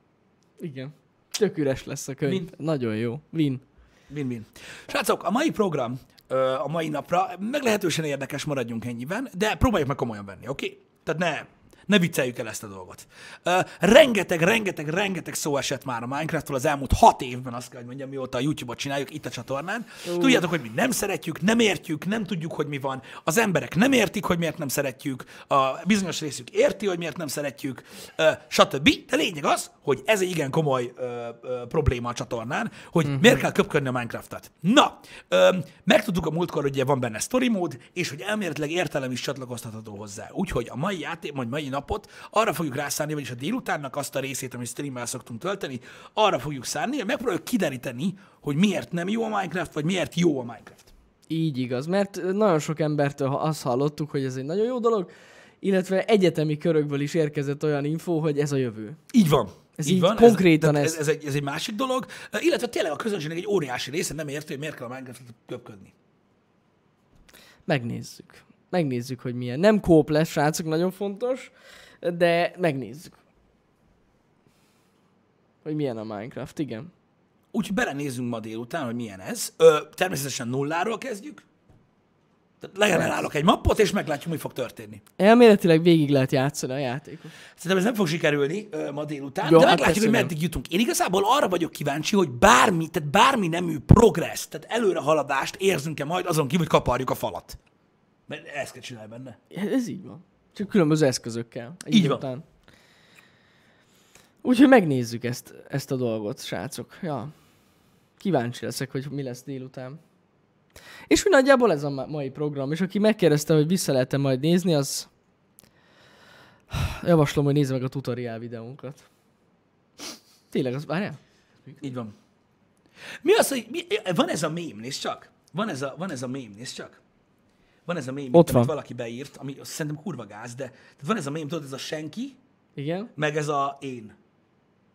[SPEAKER 1] Igen. Tök üres lesz a könyv.
[SPEAKER 2] Win.
[SPEAKER 1] Nagyon jó. Win.
[SPEAKER 2] Win-win. Srácok, a mai program ö, a mai napra meglehetősen érdekes, maradjunk ennyiben, de próbáljuk meg komolyan venni, oké? Okay? Tehát ne, ne vicceljük el ezt a dolgot. Ö, rengeteg, rengeteg, rengeteg szó esett már a Minecraftról az elmúlt hat évben, azt kell, hogy mondjam, mióta a YouTube-ot csináljuk itt a csatornán. Tudjátok, hogy mi nem szeretjük, nem értjük, nem tudjuk, hogy mi van. Az emberek nem értik, hogy miért nem szeretjük, a bizonyos részük érti, hogy miért nem szeretjük, ö, stb. De lényeg az, hogy ez egy igen komoly ö, ö, probléma a csatornán, hogy mm-hmm. miért kell köpködni a Minecraftot. Na, ö, megtudtuk a múltkor, hogy ugye van benne story mód, és hogy elméletileg értelem is csatlakoztatható hozzá. Úgyhogy a mai játék, vagy mai napot arra fogjuk rászállni, vagyis a délutánnak azt a részét, amit streammel szoktunk tölteni, arra fogjuk szállni, hogy megpróbáljuk kideríteni, hogy miért nem jó a Minecraft, vagy miért jó a Minecraft.
[SPEAKER 1] Így igaz, mert nagyon sok embertől ha- azt hallottuk, hogy ez egy nagyon jó dolog, illetve egyetemi körökből is érkezett olyan info, hogy ez a jövő.
[SPEAKER 2] Így van.
[SPEAKER 1] Ez így konkrétan
[SPEAKER 2] ez, ez,
[SPEAKER 1] ez.
[SPEAKER 2] ez, egy, ez egy másik dolog. Illetve tényleg a közönségnek egy óriási része nem érti, hogy miért kell a Minecraft-ot köpködni.
[SPEAKER 1] Megnézzük. Megnézzük, hogy milyen. Nem kóp lesz, srácok, nagyon fontos, de megnézzük. Hogy milyen a Minecraft, igen.
[SPEAKER 2] Úgyhogy belenézzünk ma délután, hogy milyen ez. Ö, természetesen nulláról kezdjük. Tehát legenerálok egy mappot, és meglátjuk, mi fog történni.
[SPEAKER 1] Elméletileg végig lehet játszani a játékot.
[SPEAKER 2] Szerintem ez nem fog sikerülni ö, ma délután,
[SPEAKER 1] Jó,
[SPEAKER 2] de
[SPEAKER 1] hát
[SPEAKER 2] meglátjuk,
[SPEAKER 1] persze
[SPEAKER 2] hogy
[SPEAKER 1] nem.
[SPEAKER 2] meddig jutunk. Én igazából arra vagyok kíváncsi, hogy bármi, tehát bármi nemű progress, tehát előrehaladást érzünk-e majd azon kívül, hogy kaparjuk a falat. Mert ezt kell csinálni benne.
[SPEAKER 1] Ez így van. Csak különböző eszközökkel. egy
[SPEAKER 2] Így
[SPEAKER 1] idő
[SPEAKER 2] van.
[SPEAKER 1] után. Úgyhogy megnézzük ezt, ezt a dolgot, srácok. Ja. Kíváncsi leszek, hogy mi lesz délután. És úgy nagyjából ez a ma- mai program, és aki megkérdezte, hogy vissza lehet-e majd nézni, az javaslom, hogy nézze meg a tutoriál videónkat. Tényleg, az várjál?
[SPEAKER 2] Így van. Mi az, hogy mi, van ez a mém, nézd csak. Van ez a, van ez a mém, nézd csak. Van ez a mém,
[SPEAKER 1] Ott
[SPEAKER 2] amit
[SPEAKER 1] van.
[SPEAKER 2] valaki beírt, ami azt szerintem kurva gáz, de tehát van ez a mém, tudod, ez a senki,
[SPEAKER 1] Igen?
[SPEAKER 2] meg ez a én.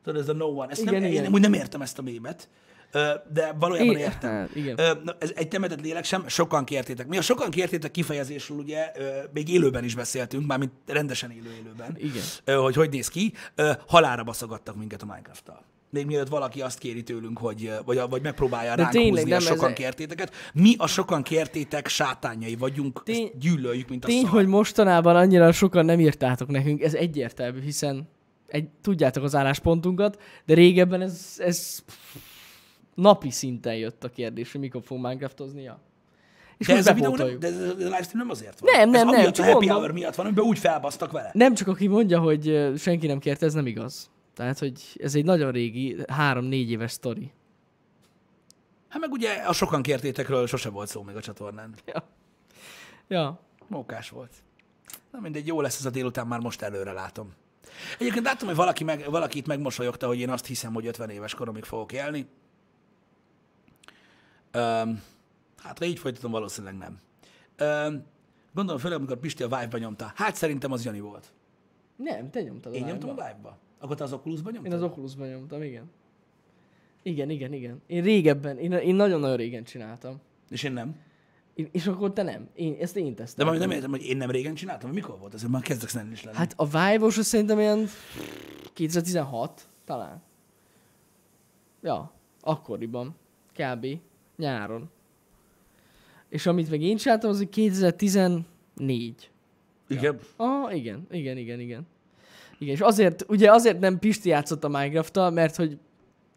[SPEAKER 2] Tudod, ez a no one. Ezt igen,
[SPEAKER 1] Igen,
[SPEAKER 2] nem, igen.
[SPEAKER 1] igen.
[SPEAKER 2] Én úgy nem értem ezt a mémet, ö, de valójában
[SPEAKER 1] Én-
[SPEAKER 2] értem.
[SPEAKER 1] hát, igen.
[SPEAKER 2] Ö, na, Ez egy temetett lélek sem, sokan kértétek. Mi a sokan kértétek kifejezésről ugye ö, még élőben is beszéltünk, mármint rendesen élő élőben.
[SPEAKER 1] Igen.
[SPEAKER 2] Ö, Hogy hogy néz ki. Ö, Halára baszogattak minket a Minecraft-tal. Még mielőtt valaki azt kéri tőlünk, hogy, ö, vagy, vagy megpróbálja
[SPEAKER 1] De
[SPEAKER 2] ránk
[SPEAKER 1] tényleg
[SPEAKER 2] húzni a
[SPEAKER 1] nem ez-
[SPEAKER 2] sokan kértéteket. Mi a sokan kértétek sátányai vagyunk,
[SPEAKER 1] Tény-
[SPEAKER 2] ezt gyűlöljük, mint a
[SPEAKER 1] Tény,
[SPEAKER 2] szar.
[SPEAKER 1] hogy mostanában annyira sokan nem írtátok nekünk, ez egyértelmű, hiszen egy, tudjátok az álláspontunkat, de régebben ez, ez napi szinten jött a kérdés, hogy mikor fog Minecraftozni. Ja. És
[SPEAKER 2] De
[SPEAKER 1] most
[SPEAKER 2] ez a videó nem,
[SPEAKER 1] bepótoljuk.
[SPEAKER 2] de ez a livestream nem azért van.
[SPEAKER 1] Nem, nem,
[SPEAKER 2] ez
[SPEAKER 1] nem,
[SPEAKER 2] amiatt
[SPEAKER 1] csak
[SPEAKER 2] a happy
[SPEAKER 1] mondom.
[SPEAKER 2] hour miatt van, amiben úgy felbasztak vele.
[SPEAKER 1] Nem csak aki mondja, hogy ö, senki nem kérte, ez nem igaz. Tehát, hogy ez egy nagyon régi, három-négy éves sztori.
[SPEAKER 2] Hát meg ugye a sokan kértétekről sose volt szó még a csatornán.
[SPEAKER 1] Ja. ja.
[SPEAKER 2] Mókás volt. Na mindegy, jó lesz ez a délután, már most előre látom. Egyébként látom, hogy valaki, meg, valaki itt megmosolyogta, hogy én azt hiszem, hogy 50 éves koromig fogok élni. Öm, hát ha így folytatom, valószínűleg nem. Öm, gondolom főleg, amikor Pisti a Vive-ba nyomta. Hát szerintem az Jani volt.
[SPEAKER 1] Nem, te nyomtad a
[SPEAKER 2] Én
[SPEAKER 1] live-ba.
[SPEAKER 2] nyomtam a Vive-ba? Akkor te az Oculus-ba nyomtad?
[SPEAKER 1] Én az Oculusban nyomtam, igen. Igen, igen, igen. Én régebben, én, én nagyon-nagyon régen csináltam.
[SPEAKER 2] És én nem.
[SPEAKER 1] Én, és akkor te nem. Én, ezt én teszteltem.
[SPEAKER 2] De majd nem értem, hogy én nem régen csináltam, vagy mikor volt ez, már kezdek szenni is lenni. Hát,
[SPEAKER 1] Hát a vive os szerintem ilyen 2016 talán. Ja, akkoriban. Kb. Nyáron. És amit meg én csináltam, az egy 2014.
[SPEAKER 2] igen.
[SPEAKER 1] Ah, igen, igen, igen, igen. Igen, és azért, ugye azért nem Pisti játszott a minecraft mert hogy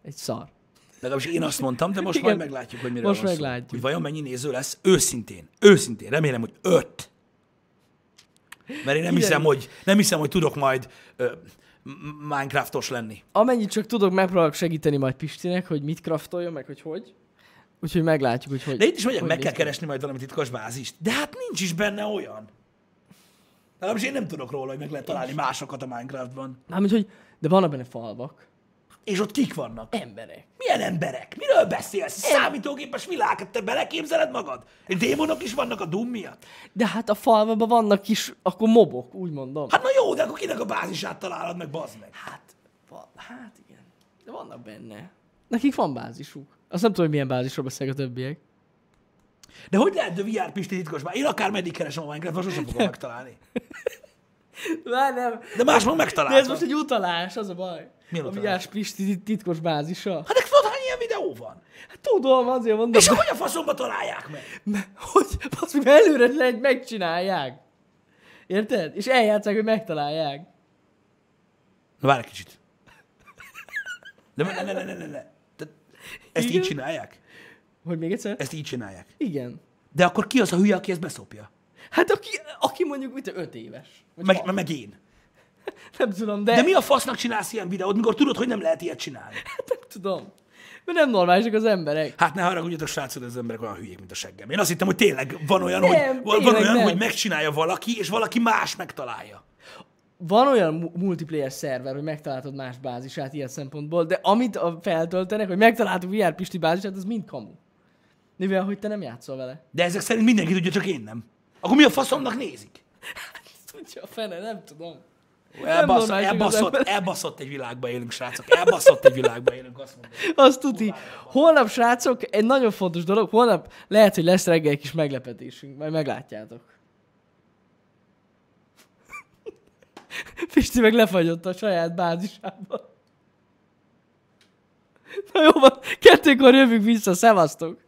[SPEAKER 1] egy szar.
[SPEAKER 2] Legalábbis én azt mondtam, de most
[SPEAKER 1] Igen.
[SPEAKER 2] majd meglátjuk, hogy miről
[SPEAKER 1] Most
[SPEAKER 2] van
[SPEAKER 1] meglátjuk.
[SPEAKER 2] szó. Hogy vajon mennyi néző lesz őszintén. Őszintén. Remélem, hogy öt. Mert én nem
[SPEAKER 1] Igen.
[SPEAKER 2] hiszem, hogy, nem hiszem, hogy tudok majd ö, m- Minecraftos lenni.
[SPEAKER 1] Amennyit csak tudok, megpróbálok segíteni majd Pistinek, hogy mit kraftolja, meg hogy hogy. Úgyhogy meglátjuk, hogy hogy.
[SPEAKER 2] De itt is mondják,
[SPEAKER 1] hogy
[SPEAKER 2] meg kell
[SPEAKER 1] néz ki.
[SPEAKER 2] keresni majd valami titkos bázist. De hát nincs is benne olyan. Legalábbis én nem tudok róla, hogy meg lehet találni másokat a Minecraftban.
[SPEAKER 1] Mármint, hogy de vannak benne falvak.
[SPEAKER 2] és ott kik vannak?
[SPEAKER 1] Emberek.
[SPEAKER 2] Milyen emberek? Miről beszélsz? Számítógépes világot te beleképzeled magad? Démonok is vannak a Doom miatt?
[SPEAKER 1] De hát a falvaban vannak is, akkor mobok, úgy mondom.
[SPEAKER 2] Hát na jó, de akkor kinek a bázisát találod meg, bazd meg?
[SPEAKER 1] Hát, va- hát igen. De vannak benne. Nekik van bázisuk. Azt nem tudom, hogy milyen bázisról beszélnek a többiek.
[SPEAKER 2] De hogy lehet a VR Pisti titkos már? Én akár meddig keresem a Minecraft, most sosem fogom megtalálni.
[SPEAKER 1] Már nem.
[SPEAKER 2] De más meg
[SPEAKER 1] De ez
[SPEAKER 2] megtalálta.
[SPEAKER 1] most egy utalás, az a baj.
[SPEAKER 2] Milyen
[SPEAKER 1] a
[SPEAKER 2] utalás?
[SPEAKER 1] vigyás Pisti tit- titkos bázisa.
[SPEAKER 2] Hát de tudod, hány ilyen videó van?
[SPEAKER 1] Hát tudom, azért mondom. [laughs]
[SPEAKER 2] És hogy a faszomba találják meg?
[SPEAKER 1] M- hogy azt mi előre lehet, megcsinálják. Érted? És eljátszák, hogy megtalálják.
[SPEAKER 2] Na várj egy kicsit. De ne, ne, ne, ne, ne, ne. Te, ezt
[SPEAKER 1] Igen?
[SPEAKER 2] így csinálják?
[SPEAKER 1] Hogy még egyszer?
[SPEAKER 2] Ezt így csinálják.
[SPEAKER 1] Igen.
[SPEAKER 2] De akkor ki az a hülye, aki ezt beszopja?
[SPEAKER 1] Hát aki, aki mondjuk mit, 5 éves. Vagy
[SPEAKER 2] Meg,
[SPEAKER 1] hat.
[SPEAKER 2] meg, meg én.
[SPEAKER 1] nem tudom, de,
[SPEAKER 2] De mi a fasznak csinálsz ilyen videót, mikor tudod, hogy nem lehet ilyet csinálni?
[SPEAKER 1] hát [laughs] nem tudom. Mert nem normálisak az emberek.
[SPEAKER 2] Hát ne haragudjatok, srácok, az emberek olyan hülyék, mint a seggem. Én azt hittem, hogy tényleg van olyan,
[SPEAKER 1] Nem,
[SPEAKER 2] hogy, van
[SPEAKER 1] tényleg
[SPEAKER 2] olyan
[SPEAKER 1] nem.
[SPEAKER 2] hogy megcsinálja valaki, és valaki más megtalálja.
[SPEAKER 1] Van olyan mu- multiplayer szerver, hogy megtaláltad más bázisát ilyen szempontból, de amit a feltöltenek, hogy megtaláltuk VR Pisti bázisát, az mind kamu. Mivel, hogy te nem játszol vele. [laughs]
[SPEAKER 2] De ezek szerint mindenki tudja, csak én nem. Akkor mi a faszomnak nézik?
[SPEAKER 1] Tudja a fene, nem tudom.
[SPEAKER 2] Elbaszott,
[SPEAKER 1] normális
[SPEAKER 2] elbaszott,
[SPEAKER 1] igazán.
[SPEAKER 2] elbaszott egy világba élünk, srácok. Elbaszott egy világba élünk, azt mondom.
[SPEAKER 1] Azt tuti. Holnap, srácok, egy nagyon fontos dolog, holnap lehet, hogy lesz reggel egy kis meglepetésünk, majd meglátjátok. [laughs] Pisti meg lefagyott a saját bázisába. Na jó van, kettőkor jövünk vissza, szevasztok!